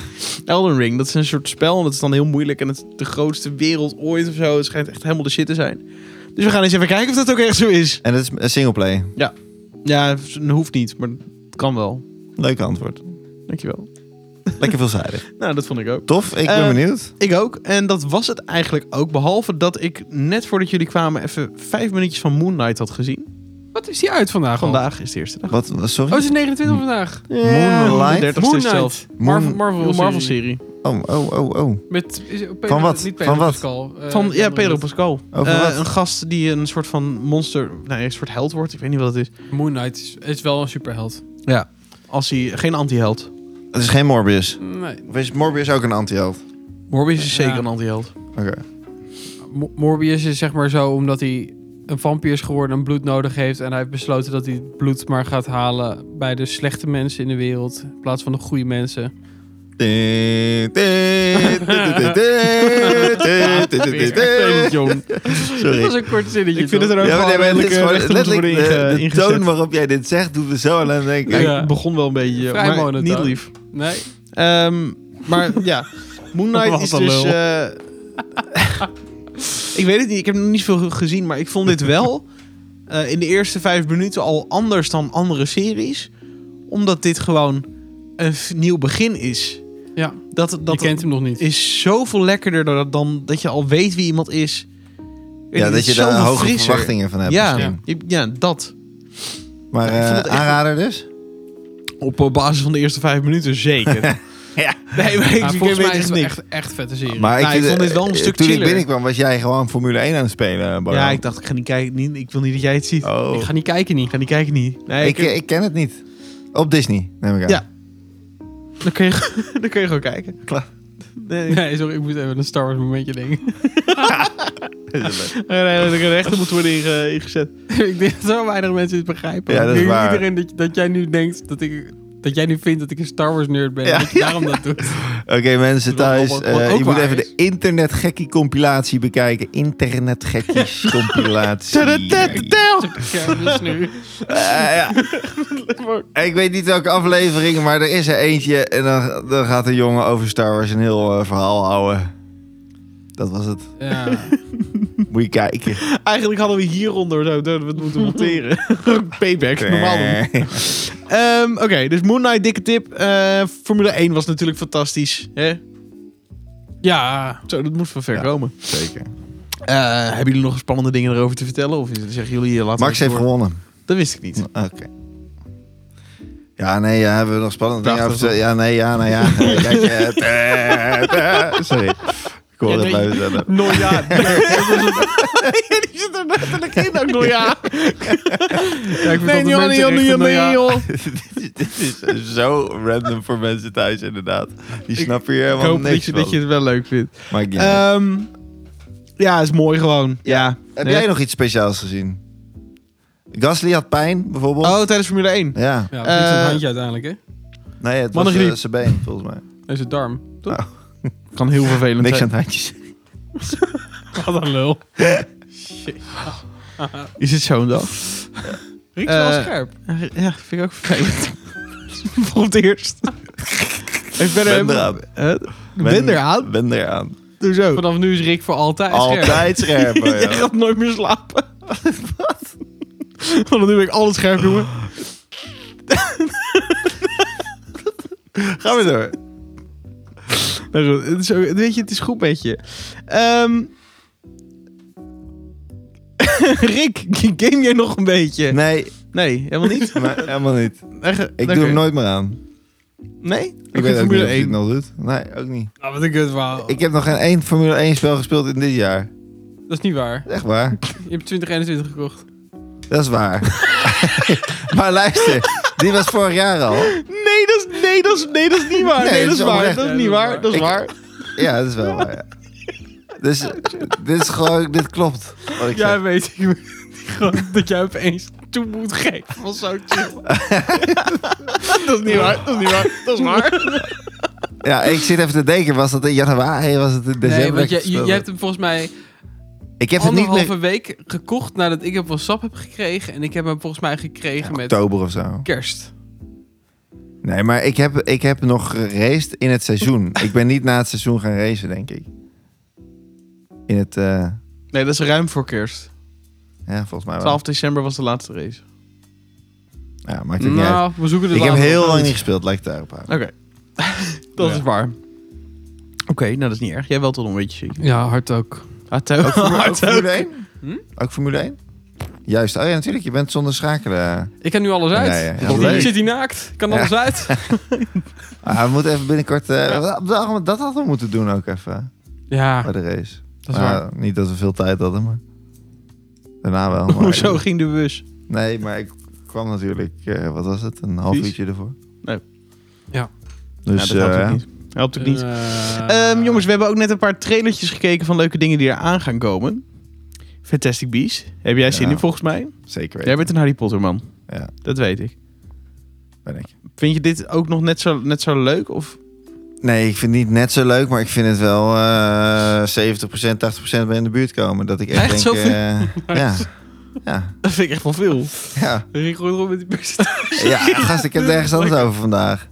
A: Elden Ring, dat is een soort spel. En dat is dan heel moeilijk. En het is de grootste wereld ooit of zo. Het schijnt echt helemaal de shit te zijn. Dus we gaan eens even kijken of dat ook echt zo is.
B: En dat is een singleplay.
A: Ja, dat hoeft niet. Maar het kan wel.
B: Leuk antwoord.
A: Dankjewel.
B: Lekker
A: *laughs*
B: veelzijdig.
A: Nou, dat vond ik ook.
B: Tof, ik ben
A: Eh,
B: benieuwd.
A: Ik ook. En dat was het eigenlijk ook. Behalve dat ik net voordat jullie kwamen even vijf minuutjes van Moon Knight had gezien.
C: Wat is die uit vandaag? al?
A: Vandaag is de eerste dag.
B: Wat,
C: Oh, het
B: sorry?
C: is 29 vandaag.
A: oh,
B: Moonlight?
A: 30ste
C: Moon
A: Eh, is zelf.
C: Knight. Marvel,
B: Moon-
A: Marvel,
C: Marvel,
A: Marvel
C: serie.
A: serie.
B: Oh, oh, oh, oh.
C: Met, is- Pedro-
B: Van wat?
C: Niet Pedro
B: Van wat?
C: Pascal, eh,
A: Van ja,
C: andere
A: Pedro
C: mensen.
A: Pascal.
B: Over
A: Eh,
B: wat?
A: Een gast die een soort van monster, nee, een soort held wordt. Ik weet niet wat het is.
C: Moon Knight is, is wel een superheld.
A: Ja. Als hij geen anti-held.
B: Het is geen Morbius.
C: Nee.
B: Of is Morbius ook een antiheld?
A: Morbius is
C: Ja.
A: zeker een *laughs* anti-held.
B: Oké.
C: Mo- Morbius is zeg maar zo omdat hij een vampier is geworden en bloed nodig heeft. En hij heeft besloten dat hij het bloed maar gaat halen bij de slechte mensen in de wereld. In plaats van de goede mensen.
B: Dit, dit, dit, dit, dit, dit, dit, dit, dit, dit.
C: Dat was
B: Sorry.
C: een kort zinnetje.
A: Ik vind het
C: toch?
A: er ook
B: Ja, maar nee,
A: gewoon
B: maar dit
A: redelijk, eh, recht om
B: is gewoon
A: te
B: letterlijk eh,
A: worden
B: de,
A: inge-
B: de toon
A: ingezet.
B: waarop jij dit zegt doet me zo aan hem denken.
A: Ja,
C: Ja.
A: ik begon wel een beetje,
C: Vrij
A: maar
C: monotone.
A: niet lief.
C: Nee.
A: Ehm,
C: *laughs*
A: maar ja, Moon Knight
C: Wat
A: is
C: een
A: dus...
C: lul.
A: eh, *laughs* ik weet het niet, ik heb nog niet veel gezien, maar ik vond dit wel eh, in de eerste vijf minuten al anders dan andere series. Omdat dit gewoon een f- nieuw begin is.
C: Ja,
A: Dat, dat
C: je kent hem nog niet.
A: is zoveel lekkerder dan, dan dat je al weet wie iemand is.
B: Ja, dat je daar
A: daar
B: hoge verwachtingen van hebt
A: Ja,
B: misschien.
A: je- ja, dat.
B: Maar
A: Ik vond het
B: eh,
A: echt-
B: aanrader dus?
A: Op eh, basis van de eerste vijf minuten zeker.
B: *laughs* Ja.
A: Nee, maar ik,
C: Ja,
A: ik
C: volgens
A: weet
C: mij is
A: echt
C: het
A: niks.
C: echt, echt vette serie.
B: Maar
A: Nou, ik
B: vind-
A: vond dit wel een
B: eh,
A: stuk
B: Toen ik
A: chiller.
B: binnenkwam was jij gewoon Formule 1 aan het spelen, Baran.
A: Ja, ik dacht, ik ga niet kijken. Niet, ik wil niet dat jij het ziet.
B: Oh.
C: Ik ga niet kijken
A: Ik
C: niet.
A: ga niet kijken, niet. Nee,
B: ik, eh, ik ken het niet. Op Disney, neem ik aan.
A: Ja. dan, kun je, *laughs* dan kun je gewoon kijken.
B: Klaar.
A: Nee,
C: Nee, sorry, ik moet even een Star Wars momentje denken. *laughs*
A: nee, nee, nee, de rechter moet worden inge- ingezet.
C: ik denk dat zo weinig mensen het begrijpen.
B: Ja, dat is
C: ik denk
B: waar.
C: iedereen dat, dat jij nu denkt dat ik... Dat jij nu vindt dat ik een Star Wars nerd ben.
B: Ja.
C: Dat je daarom
B: *laughs*
C: dat doet.
B: *laughs* Oké, mensen thuis.
C: Wat- wat-
B: eh,
C: wat ook
B: je moet
C: waar
B: even
C: is.
B: de
A: *laughs*
B: internetgekkie compilatie bekijken. Internetgekkies compilatie.
A: Tadadat, tel!
C: kermis nu.
B: Eh, ja. *laughs* Ik weet niet welke aflevering, maar er is er eentje. En dan, dan gaat de jongen over Star Wars een heel eh, verhaal houden. Dat was het.
C: Ja.
B: Moet je kijken.
A: Eigenlijk hadden we hieronder zo, dat we het moeten monteren. *laughs* Payback, normaal doen.
B: Eh,
A: Ehm, Oké, dus Moon Knight, dikke tip. Eh, Formule 1 was natuurlijk fantastisch. Hè?
C: ja.
A: Zo, dat moet van ver
B: Ja.
A: komen.
B: *laughs* Zeker.
A: Eh, hebben jullie nog spannende dingen erover te vertellen? Of zeggen jullie, eh, laten we het
B: Max heeft
A: door?
B: gewonnen.
A: Dat wist ik niet.
B: Oké. Ja, nee, ja, hebben we nog spannend dingen over
A: Prachtig,
B: te zeggen? Ja, nee, ja, *laughs* nou ja. Eh, Kijk, eh, tè, tè. Sorry. Ik hoor
C: Ja,
B: het
C: nee.
B: blijven zeggen.
C: Nou
A: *laughs*
C: ja.
A: Die zit er letterlijk in ook nog, *laughs* ja.
C: Ja, ik vind
A: Nee,
C: dat
A: joh,
C: de
A: nee, joh, nee,
C: mensen
A: joh,
C: richten, nou
A: nee,
C: ja.
A: joh.
B: *laughs* Dit is zo random voor mensen thuis, inderdaad. Die snappen hier
A: Ik
B: helemaal
A: hoop
B: niks
A: dat je,
B: van.
A: dat je het wel leuk vindt.
B: Maar ik-
A: Ehm, ja, is mooi gewoon. Ja.
B: Heb
A: Nee.
B: jij nog iets speciaals gezien? Gasly had pijn, bijvoorbeeld.
A: Oh, tijdens Formule 1.
B: Ja,
C: Ja, het is
A: Eh,
C: een handje uiteindelijk, hè?
B: nee, het was
A: Mannengriep.
B: eh, zijn been, volgens mij.
C: Dat is het darm. Toch?
A: Kan heel vervelend
B: Niks aan
A: zijn.
B: het
A: *laughs*
B: handjes.
C: Wat een lul.
A: Is het zo'n dag?
C: Riekt wel
A: Eh,
C: scherp.
A: Ja, vind ik ook vervelend. *laughs* Voor het eerst. ik ben
B: Ben
A: er...
B: eraan.
A: Eh, Ben eraan?
B: Ben eraan.
A: Hoezo?
C: Vanaf nu is Rick voor altijd scherp.
A: *laughs*
B: Altijd scherp.
A: Jij
B: ja.
A: gaat nooit meer slapen. *laughs* Wat? Want nu ben ik alles scherp, jongen.
B: Gaan we door.
A: Nou goed, het is, ook- weet je, het is goed met je. Ehm, *laughs* Rick, game jij nog een beetje?
B: Nee,
A: Nee, helemaal *laughs* niet.
B: maar helemaal niet.
A: Echt,
B: Ik
A: oké.
B: doe hem nooit meer aan.
A: Nee?
B: Ik weet ook niet of hij het nog doet. Nee, ook niet.
C: Nou, wat een kut verhaal.
B: Ik heb nog geen één Formule 1 spel gespeeld in dit jaar.
C: Dat is niet waar.
B: Echt waar.
C: Je hebt 2021 gekocht.
B: Dat is
A: *laughs*
B: waar. *laughs* maar luister, die was vorig jaar al.
A: Nee, dat is, nee, dat is, nee, dat is niet waar.
B: Nee,
A: Nee, dat
B: het
A: is
B: is
A: waar.
B: oprecht.
A: Dat is
C: Ja,
A: niet waar. Dat is
B: Ik-
A: waar.
B: Ja, dat is wel waar. Ja. Dus eh, dit is gewoon, dit klopt. Wat ik zeg.
C: Jij weet
A: *laughs*
C: ik ben- gewoon dat jij opeens toe moet geven. Was zo
A: *laughs*
C: chill.
A: Dat is niet waar. Dat is niet waar. *laughs* Dat is waar.
B: Ja, ik zit even te denken, was dat in januari, was het in december?
C: Nee, want
B: dat ik
C: jij,
B: het
C: jij
B: speelde?
C: hebt hem volgens mij
B: ik heb het niet
C: anderhalve
B: meer
C: week gekocht nadat ik hem van sap heb gekregen. En ik heb hem volgens mij gekregen met
B: oktober of zo.
C: kerst.
B: Nee, maar ik heb, ik heb nog geraced in het seizoen. ik ben niet na het seizoen gaan racen, denk ik. In het, eh,
A: Nee, dat is ruim voor kerst.
B: ja, volgens mij wel.
A: 12 december was de laatste race.
B: Ja, maakt het niet uit.
C: Nou, we zoeken de
B: Ik heb
C: later
B: heel
C: op.
B: lang niet gespeeld, lijkt het
C: *laughs*
B: daarop aan.
A: Oké. *laughs* dat
C: Ja.
A: is waar. Oké, nou dat is niet erg. Jij wel tot een beetje ziek.
C: Ja, hard ook.
A: Hato.
B: Ook
A: *laughs*
B: Formule, ook Formule 1?
C: Hm?
B: Ook Formule 1? Juist. Oh ja, natuurlijk. Je bent zonder schakelen. eh,
C: Ik heb nu alles uit.
B: Ja, ja, ja,
C: Ik
A: leuk.
C: zit hier naakt. Ik kan
B: Ja.
C: alles
B: *laughs*
C: uit.
B: Ah, we moeten even binnenkort... eh, dat- Dat hadden we moeten doen ook even,
C: Ja,
B: bij de race.
C: dat is waar.
B: Nou, Niet dat we veel tijd hadden, maar... Daarna wel. Maar
A: Hoezo ging de bus?
B: Nee, maar ik kwam natuurlijk... eh, wat was het? Een half
A: Vies.
B: uurtje ervoor.
A: Nee.
C: Ja.
B: Dus,
A: ja, Nou, dat helpt
B: eh,
A: ook niet. Helpt ook niet.
C: Eh,
A: Ehm, jongens, we hebben ook net een paar trailertjes gekeken van leuke dingen die eraan gaan komen. Fantastic Beasts. Heb jij zin
B: Ja.
A: in volgens mij?
B: Zeker weten.
A: Jij bent een Harry Potter man.
B: Ja.
A: Dat weet ik.
B: Ben ik.
A: Vind je dit ook nog net zo, net zo leuk? Of *laughs*
B: Nee, ik vind het niet net zo leuk, maar ik vind het wel eh 70%, 80% bij in de buurt komen. Dat ik echt,
C: Echt
B: denk...
C: zoveel?
A: *laughs*
B: eh, ja. Ja.
A: dat vind ik echt wel veel.
B: Ja.
C: Rick gooit erop met die percentage.
B: Ja, gast, ik heb het ergens anders over vandaag.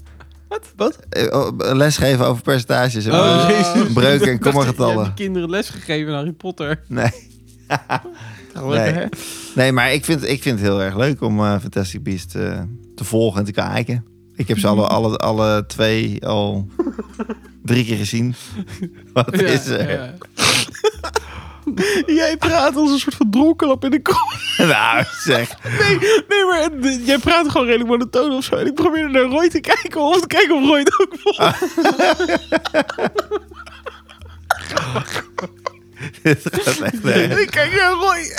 A: Wat? Wat?
B: Eh, oh, Lesgeven over percentages. en
A: Oh,
B: breuken-
A: jezus.
B: Breuken en
C: Je
B: kommagetallen.
C: hebt die Eh, kinderen lesgegeven aan Harry Potter.
B: Nee.
A: Gelukkig,
B: Nee.
A: hè?
B: nee, maar ik vind, ik vind het heel erg leuk om eh, Fantastic Beast eh, te volgen en te kijken. Ik heb ze alle, alle, alle twee al drie keer gezien. Wat *laughs*
C: Ja,
B: is er?
C: ja.
A: Jij praat als een soort van dronkenlap in de kroeg.
B: Nou, zeg. *laughs*
A: Nee, maar het- jij praat gewoon redelijk monotoon of zo. En ik probeerde naar Roy te kijken om te kijken of Roy het ook volgt.
B: Dit gaat echt
A: En
B: erg.
A: ik kijk naar Roy.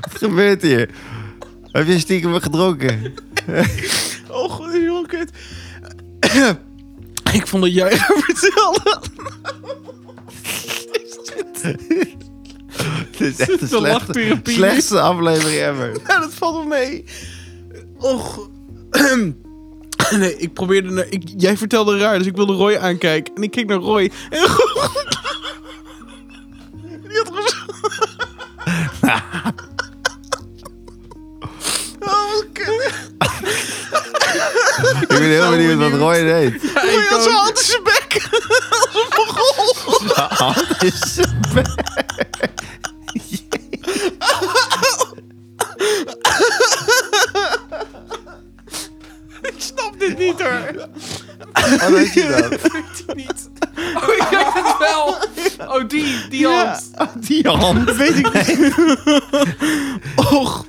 B: Wat gebeurt hier? Heb je stiekem gedronken? *laughs*
A: Oh, god, dit is helemaal kut. ik vond dat jij *laughs* gaat vertellen.
B: Dit is echt de
C: de
B: slechtste,
C: lachtherapie.
B: slechtste aflevering ever.
A: Nou, dat valt wel mee. Och. *clears throat* Nee, ik probeerde naar... Ik, jij vertelde *laughs* raar, dus ik wilde Roy aankijken. En ik keek naar Roy. En Die had gezegd. *laughs* Oh, wat kut.
B: Ik ben heel benieuwd wat Roy deed.
A: Hoe je had zijn hand in zijn bek. *laughs* Als een Mongool.
C: Ik snap dit niet hoor.
B: Wat weet je dan? *laughs*
C: Weet hij niet. Oh, ik weet het wel. Oh, die, die
A: Ja.
C: hand.
B: Die hand.
A: Dat weet
B: *laughs*
A: ik niet. Och.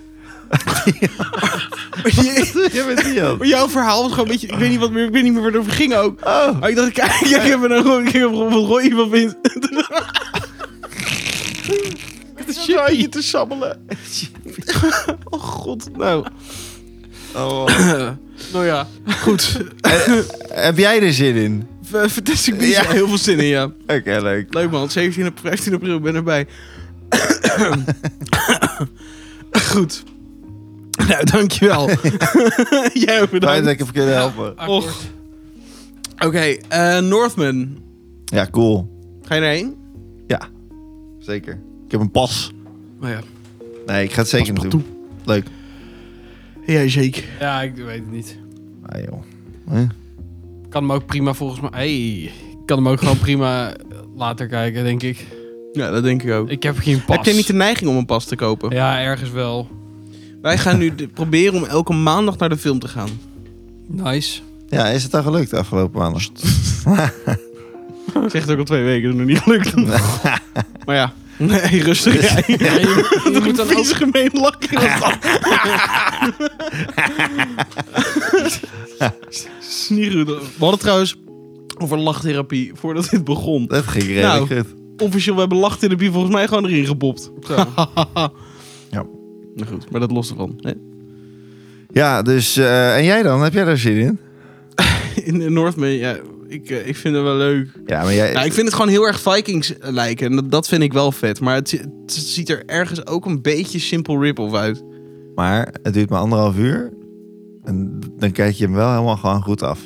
A: Je-
B: Je bent die hand.
A: Maar jouw verhaal was gewoon een beetje... Ik weet niet, wat meer, ik weet niet meer waar het over ging ook.
B: Oh.
A: Maar ik dacht, kijk, kijk even naar Roy. Kijk even wat Roy iemand vindt. *laughs* Het is een beetje te sabbelen. *laughs* Oh god, nou.
B: Oh,
C: Nou ja.
A: Goed.
B: Eh, Heb jij er zin in?
A: Ver- Fantastic Beasts,
B: Ja.
A: heel veel zin in, ja.
B: Oké, leuk.
A: Leuk man, 17 april, 15 april, ik ben erbij. *coughs* Goed. Nou, *laughs* dankjewel. Jij ook
B: Fijn
A: bedankt.
B: dat ik heb kunnen helpen.
C: akkoord.
A: Och. Oké, eh, Northman.
B: Ja, cool.
A: Ga je erheen?
B: Ja, zeker. Ik heb een pas.
A: Nou ja.
B: Nee, ik ga het zeker
A: Pas
B: niet doen. Leuk.
A: Ja, zeker.
C: Ja, ik weet het niet.
B: Ah, joh. Huh?
C: Ik kan hem ook prima volgens mij... Hey, ik kan hem ook gewoon prima later kijken, denk ik.
A: Ja, dat denk ik ook.
C: Ik heb geen pas.
A: Heb jij niet de neiging om een pas te kopen?
C: Ja, ergens wel.
A: Wij gaan nu de- proberen om elke maandag naar de film te gaan.
C: Nice.
B: Ja, is het dan gelukt de afgelopen maandag?
A: *laughs* Nou. Ik zeg het ook al twee weken, dat is nog niet gelukt. *laughs* maar ja, nee, rustig jij. *laughs*
C: Ja, je, je moet dan ook...
A: Vies gemeen lachen. *laughs* Snierrudel. We hadden trouwens over lachtherapie voordat dit begon.
B: Dat ging redelijk
A: Nou.
B: goed.
A: Officieel, we hebben lachtherapie volgens mij gewoon erin gepopt. *laughs*
B: Ja.
A: Nou goed, maar dat lost ervan. Hè?
B: Ja, dus... eh, en jij dan? Heb jij daar zin in?
A: *laughs* In eh, Northman, ja, ik, eh, ik vind het wel leuk.
B: Ja, maar jij...
A: Nou, ik vind het gewoon heel erg Vikings eh, lijken. En dat, dat vind ik wel vet. Maar het, het ziet er ergens ook een beetje Simple Ripple uit.
B: Maar het duurt maar anderhalf uur. En dan kijk je hem wel helemaal gewoon goed af.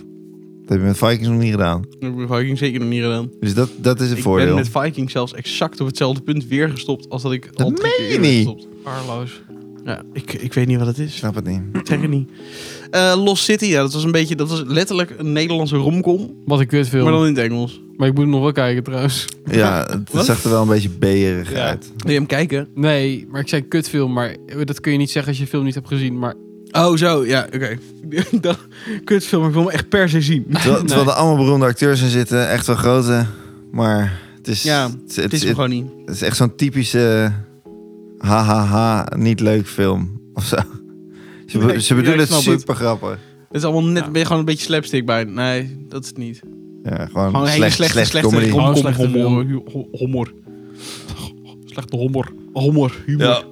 B: Dat heb je met Vikings nog niet gedaan.
A: Dat heb ik met Vikings zeker nog niet gedaan.
B: Dus dat, dat is een
A: Ik
B: voordeel.
A: ben met Vikings zelfs exact op hetzelfde punt weer gestopt als dat ik
B: Dat
A: al drie
B: meen
A: keer
B: je
A: eerder
B: niet.
A: gestopt.
C: Arloos.
A: Ja, ik, ik weet niet wat het
B: Ik
A: is.
B: snap het niet.
A: Ik zeg het niet. Eh, Lost City, ja, dat was een beetje, dat was letterlijk een Nederlandse romcom,
C: Wat ik kut film.
A: maar
C: Maar,
A: dan in het Engels.
C: ik moet hem nog wel kijken trouwens.
B: Ja, het
A: Wat?
B: zag er wel een beetje beerig
C: Ja.
B: uit.
A: Wil je hem kijken?
C: Nee, maar ik zei kut film. Maar dat kun je niet zeggen als je de film niet hebt gezien. Maar
A: Oh, zo, ja, oké. *laughs* Dat Kutfilm, ik wil hem echt per se zien.
B: Terwijl,
A: *laughs*
B: terwijl er allemaal beroemde acteurs in zitten. Echt wel grote. Maar het is,
A: Ja,
B: het,
A: Het is hem gewoon niet.
B: het is echt zo'n typische... Ha, ha, ha, niet leuk film. Of zo. Ze, be-
A: Nee,
B: ze
A: ja,
B: bedoelen
A: ik
B: het
A: snap het.
B: super grappig.
A: Het is allemaal net,
C: Ja.
A: ben je gewoon een beetje slapstick bij. Nee, dat is het niet.
B: Ja, gewoon,
A: Gewoon een hele
B: slecht,
A: slechte,
B: slecht
A: slechte,
B: comedy.
A: rom-
C: Gewoon
A: Homkom,
C: slechte
A: hommel.
C: film. Hu- ho- Hommer. Slechte hommer. Hommer. Humor.
B: Ja.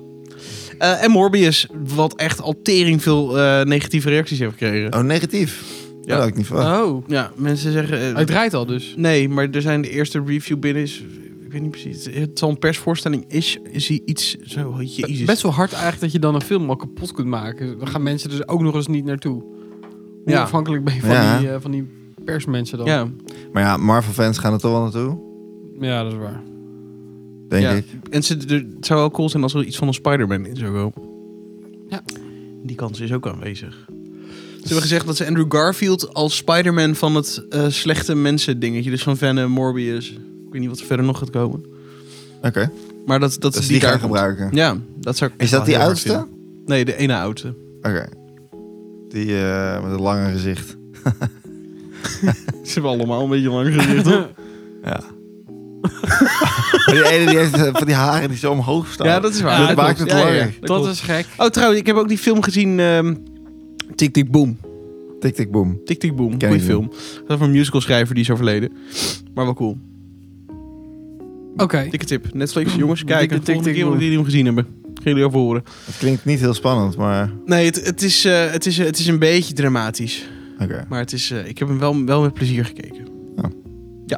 A: Eh, en Morbius, wat echt altering veel eh, negatieve reacties heeft gekregen.
B: Oh, negatief. Ja. Dat had ik niet verwacht.
A: Ah.
C: Oh.
A: Ja, mensen zeggen... eh,
C: Hij draait al dus.
A: nee, maar er zijn de eerste review binnen is... Ik weet niet precies. Het zal een persvoorstelling is, is hij iets zo... Jezus.
C: Best wel hard eigenlijk dat je dan een film al kapot kunt maken. Dan gaan mensen dus ook nog eens niet naartoe. Hoe
A: Ja.
C: afhankelijk ben je van,
B: Ja.
C: die, eh, van die persmensen dan?
A: Ja,
B: Maar ja, Marvel-fans gaan er toch wel naartoe,
C: Ja, dat is waar.
B: denk
A: Ja.
B: ik.
A: en ze, er- het zou wel cool zijn als er iets van een Spider-Man in zou komen.
C: Ja.
A: Die kans is ook aanwezig. Ze hebben gezegd dat ze Andrew Garfield als Spider-Man van het eh, slechte mensen dingetje... Dus van Venom, Morbius... Ik weet niet wat er verder nog gaat komen.
B: Oké,
A: Maar dat, dat,
B: dat
A: ze
B: is die gaan
A: daar komt.
B: gebruiken.
A: Ja, dat zou ik
B: Is
A: wel
B: dat die
A: heel erg
B: oudste?
A: vinden. Nee, de ene oudste.
B: Oké. Die eh, met het lange gezicht.
A: Ze hebben allemaal een beetje lang *laughs* gezicht, hoor.
B: Ja. Maar die ene die heeft eh, van die haren die zo omhoog staan.
A: Ja, dat is waar. dat
C: Ja, dat
B: maakt
A: klopt.
B: het
A: Ja, ja, ja,
B: langer.
A: dat
C: Dat,
A: klopt.
C: is gek.
A: Oh, trouwens, ik heb ook die film gezien... ehm Tik Tik Boom.
B: Tik, tik, boom.
A: Tik Tik Boom,
B: Ken
A: goeie
B: ik
A: film. Dat is over een musicalschrijver die is overleden. Maar wel cool.
C: Oké.
A: Dikke tip. Netflix, jongens, kijk.
C: Dikke
A: De
C: Tik
A: volgende
C: Tik
A: keer
C: Boom.
A: jullie hem gezien hebben. Gaan jullie over horen.
B: Het klinkt niet heel spannend, maar...
A: Nee, het, het, is, eh, het, is, het is een beetje dramatisch.
B: Oké.
A: Maar het is, eh, ik heb hem wel, wel met plezier gekeken.
B: Oh.
A: Ja.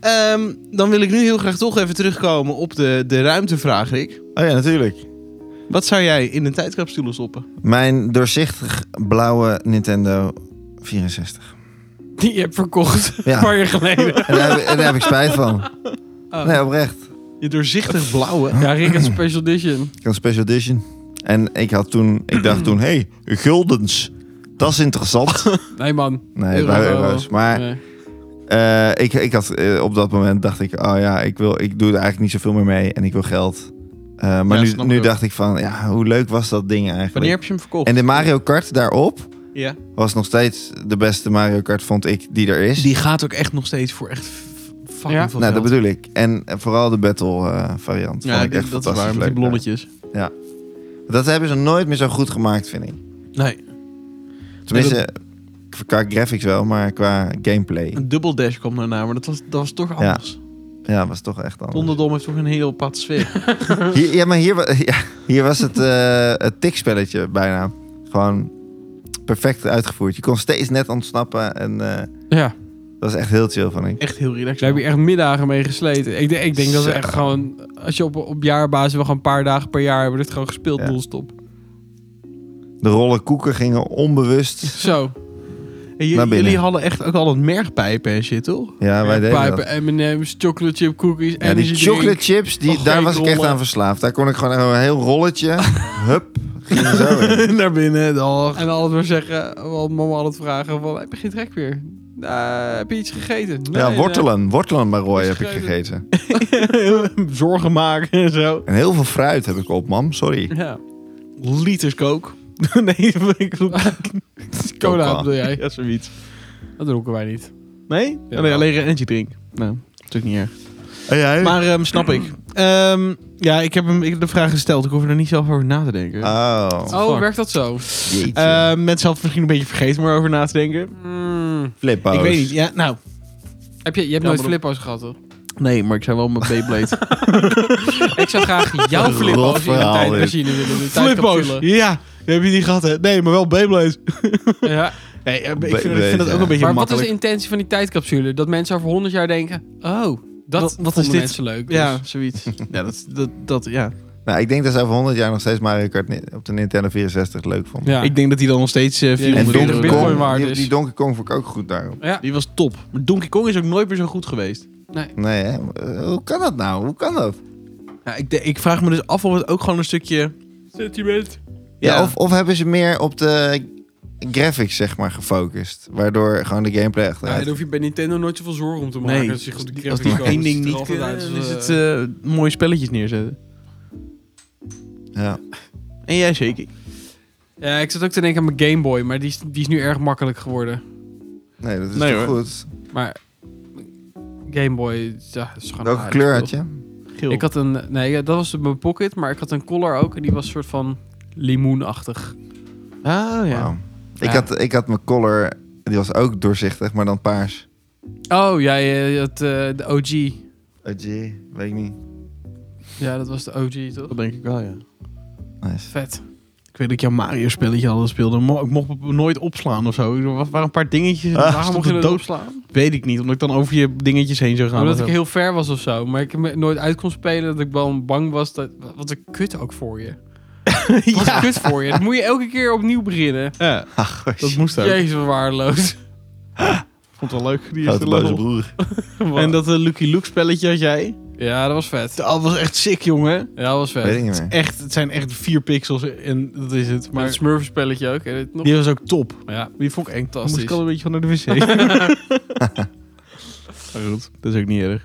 A: Ehm, dan wil ik nu heel graag toch even terugkomen op de, de ruimtevraag, Rick.
B: Oh ja, natuurlijk.
A: Wat zou jij in een tijdcapsule stoppen?
B: Mijn doorzichtig blauwe Nintendo 64.
C: Die heb verkocht.
B: Ja.
C: *laughs* Een paar jaar geleden.
A: *laughs*
B: En daar, heb, en daar heb ik spijt van.
A: Ah.
C: Oh.
B: Nee, oprecht.
A: Je doorzichtig blauwe.
C: Ja, Rick een special edition.
B: Ik had special edition. En ik, had toen, ik dacht toen, hey, guldens. Dat is
A: *laughs*
B: interessant.
C: Nee, man.
B: Nee,
C: Euro.
B: bij euro's. Maar
C: Nee.
B: eh, ik, ik had, eh, op dat moment dacht ik, oh ja, ik, wil, ik doe er eigenlijk niet zoveel meer mee en ik wil geld. Eh, maar
A: Ja,
B: nu,
A: snap
B: nu
A: ik.
B: dacht ik van, ja, hoe leuk was dat ding eigenlijk?
A: Wanneer heb je hem verkocht?
B: En de Mario Kart daarop
A: ja.
B: was nog steeds de beste Mario Kart, vond ik, die er is.
A: Die gaat ook echt nog steeds voor echt f- fucking
C: Ja.
A: veel
B: nou, dat
A: geld.
B: bedoel ik. En eh, vooral de battle eh, variant.
A: ja,
B: vond ik
A: die-
B: echt
A: dat is
B: fantastisch
A: waar, met
B: leuk.
A: die blonnetjes.
B: Dat hebben ze nooit meer zo goed gemaakt, vind ik.
A: Nee,
B: Tenminste, eh, qua graphics wel, maar qua gameplay.
A: een dubbel dash kwam daarna, maar dat was, dat was toch anders.
B: Ja, was toch echt anders.
A: Donderdom heeft toch een heel apart sfeer. *laughs*
B: Hier, ja, maar hier, wa- *laughs* ja, hier was het, eh het tikspelletje bijna. Gewoon perfect uitgevoerd. Je kon steeds net ontsnappen en eh,
C: Ja,
B: dat was echt heel chill, van ik.
A: Echt heel relaxed.
C: daar heb je echt middagen mee gesleten. Ik, denk- ik denk dat we
B: Zo.
C: echt gewoon... Als je op, op jaarbasis wel gewoon een paar dagen per jaar... hebben we dit gewoon gespeeld,
B: Ja.
C: doelstop.
B: De rollen koeken gingen onbewust.
C: *laughs* Zo.
A: En j-
B: Naar binnen.
A: jullie hadden echt ook al een mergpijpen en shit,
B: *laughs*
A: toch?
B: Ja, wij deden dat.
C: Pijpen, M&M's, chocolate chip cookies,
B: Ja, die
C: energy
B: chocolate
C: drink.
B: chips, die,
C: Och,
B: daar
C: kijk,
B: was ik echt
C: rollen.
B: aan verslaafd. Daar kon ik gewoon een heel rolletje,
C: *laughs*
B: hup, ging er zo in.
A: Eh, Naar binnen, dag.
C: En altijd maar zeggen, want mama altijd vragen van, heb je geen trek weer? Nou, heb je iets gegeten? Nee,
B: Ja,
C: nee.
B: wortelen. Wortelen bij Roy heb ik
C: Schrijven.
B: gegeten.
A: *laughs* Zorgen maken en zo.
B: En heel veel fruit heb ik op, mam. Sorry.
C: Ja.
A: Liters kook. *laughs* nee, ik bedoel...
C: Cola
B: Cola.
C: bedoel jij?
B: *laughs*
A: Ja, zoiets.
C: Dat dronken wij niet.
A: Nee?
C: Ja.
A: nee, alleen een energy drink. Nou, natuurlijk niet erg.
B: En jij?
A: Maar ehm, snap ik. Ehm, ja, ik heb hem ik heb de vraag gesteld. Ik hoef er niet zelf over na te denken.
B: Oh,
C: Oh,
A: fuck?
C: werkt dat zo?
B: jeetje.
A: Ehm, mensen hadden misschien een beetje vergeten om erover na te denken.
C: Mm.
B: Flippo's.
A: Ik weet niet. Ja, nou,
C: Heb je, je hebt
A: Ja,
C: nooit
A: maar-
C: flippo's gehad, toch?
A: nee, maar ik zou wel mijn *laughs* Beyblade.
C: Ik zou
B: *laughs*
C: graag jouw
B: Rot
C: flippo's in de
B: verhaal,
C: tijdmachine willen. de
A: Flippo's!
C: tijdcapsule.
A: Ja, heb je die gehad, hè? Nee, maar wel Beyblade.
C: Ja.
A: Nee, eh, ik vind, ik
B: Beyblade,
A: vind dat ook
B: ja.
A: een beetje
C: Maar wat is de
A: makkelijk.
C: intentie van die tijdcapsule? Dat mensen over 100 jaar denken, oh, dat
A: Wat- wat
C: vonden
A: is dit?
C: mensen leuk. Dus.
A: Ja, zoiets. ja, dat, dat, dat, ja.
B: Nou, ik denk dat ze over 100 jaar nog steeds Mario Kart ni- op de Nintendo 64 leuk vonden.
C: ja.
A: Ik denk dat die dan nog steeds eh
C: En
A: 400
C: Donkey
A: euro-
C: Bitcoin Kong. waard
B: die,
C: is.
B: die Donkey Kong vond ik ook goed daarop.
C: Ja.
A: Die was top. Maar Donkey Kong is ook nooit meer zo goed geweest.
B: Nee, hè? Eh, Hoe kan dat nou? Hoe kan dat?
A: Ja, ik, de- ik vraag me dus af of het ook gewoon een stukje...
C: Sentiment.
B: Ja, of, of hebben ze meer op de graphics, zeg maar, gefocust. Waardoor gewoon de gameplay echt...
C: Ja, daar hoef je bij Nintendo nooit zoveel zorgen om te maken.
A: Nee,
C: dat je goed de
A: als
C: graphics
A: die
C: kan,
A: één ding
C: dat
A: niet
C: het er
A: kunnen,
C: altijd
A: dan
C: uit
A: is
C: is,
A: het
C: eh,
A: eh, mooie spelletjes neerzetten.
B: Ja.
A: En jij zeker?
C: Ja, ik zat ook te denken aan mijn Game Boy, maar die is, die is nu erg makkelijk geworden.
B: Nee, dat is
A: Nee,
B: toch
A: hoor.
B: goed?
C: Maar Game Boy, ja, is gewoon
B: Welke
C: een
B: kleur
C: aardig
B: had je?
A: Geel.
C: spul. Ik had een, nee, ja, dat was mijn pocket, maar ik had een collar ook en die was soort van limoenachtig.
A: Ah, ja.
B: Wauw. Ik,
C: Ja.
B: had, ik had mijn collar, die was ook doorzichtig, maar dan paars.
C: Oh, ja, je had eh, de OG.
B: Oh jee, weet ik niet.
C: Ja, dat was de OG, toch?
A: Dat denk ik wel, ja.
B: Nice.
C: Vet.
A: Ik weet dat ik jouw Mario-spelletje altijd speelde. Mo- Ik mocht me nooit opslaan of zo. Er wa- waren een paar dingetjes.
B: Ah,
A: waarom
C: Waarom mocht je dat opslaan?
A: Weet ik niet, omdat ik dan over je dingetjes heen zou gaan.
C: Omdat
A: of
C: ik
A: zo.
C: heel ver was of zo, maar ik me nooit uit kon spelen. Dat ik wel bang was dat... Wat een kut ook voor je. Wat een kut voor je. Dat moet je elke keer opnieuw beginnen.
A: *laughs* Ja,
B: Ach,
A: dat moest ook.
C: Jezus, wat waardeloos.
A: Vond het wel leuk, die eerste
B: grote boze
A: level.
B: broer.
A: En dat eh, Lucky Luke spelletje had jij.
C: Ja, dat was vet.
A: Dat was echt sick, jongen.
C: Ja, dat was vet.
B: Weet ik niet meer.
A: Echt, het zijn echt vier pixels en dat is het.
C: Maar het
A: Maar
C: Smurf spelletje ook. En het nog...
A: die was ook top.
C: Ja,
A: Die vond ik eng. Moest
C: fantastisch.
A: ik al een beetje van naar de wc. *laughs* maar goed, dat is ook niet erg.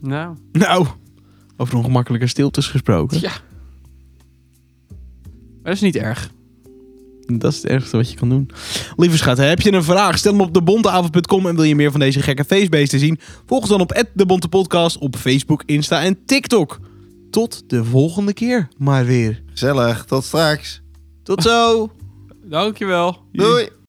C: Nou,
A: Nou, over ongemakkelijke stiltes gesproken.
C: Ja. dat is niet erg.
A: Dat is het ergste wat je kan doen. Lieve schat, heb je een vraag? Stel hem op debonteavond.com en wil je meer van deze gekke feestbeesten zien? Volg ons dan op @debontepodcast op Facebook, Insta en TikTok. Tot de volgende keer, maar weer.
B: Gezellig, tot straks.
A: Tot zo!
C: Dankjewel.
B: Doei!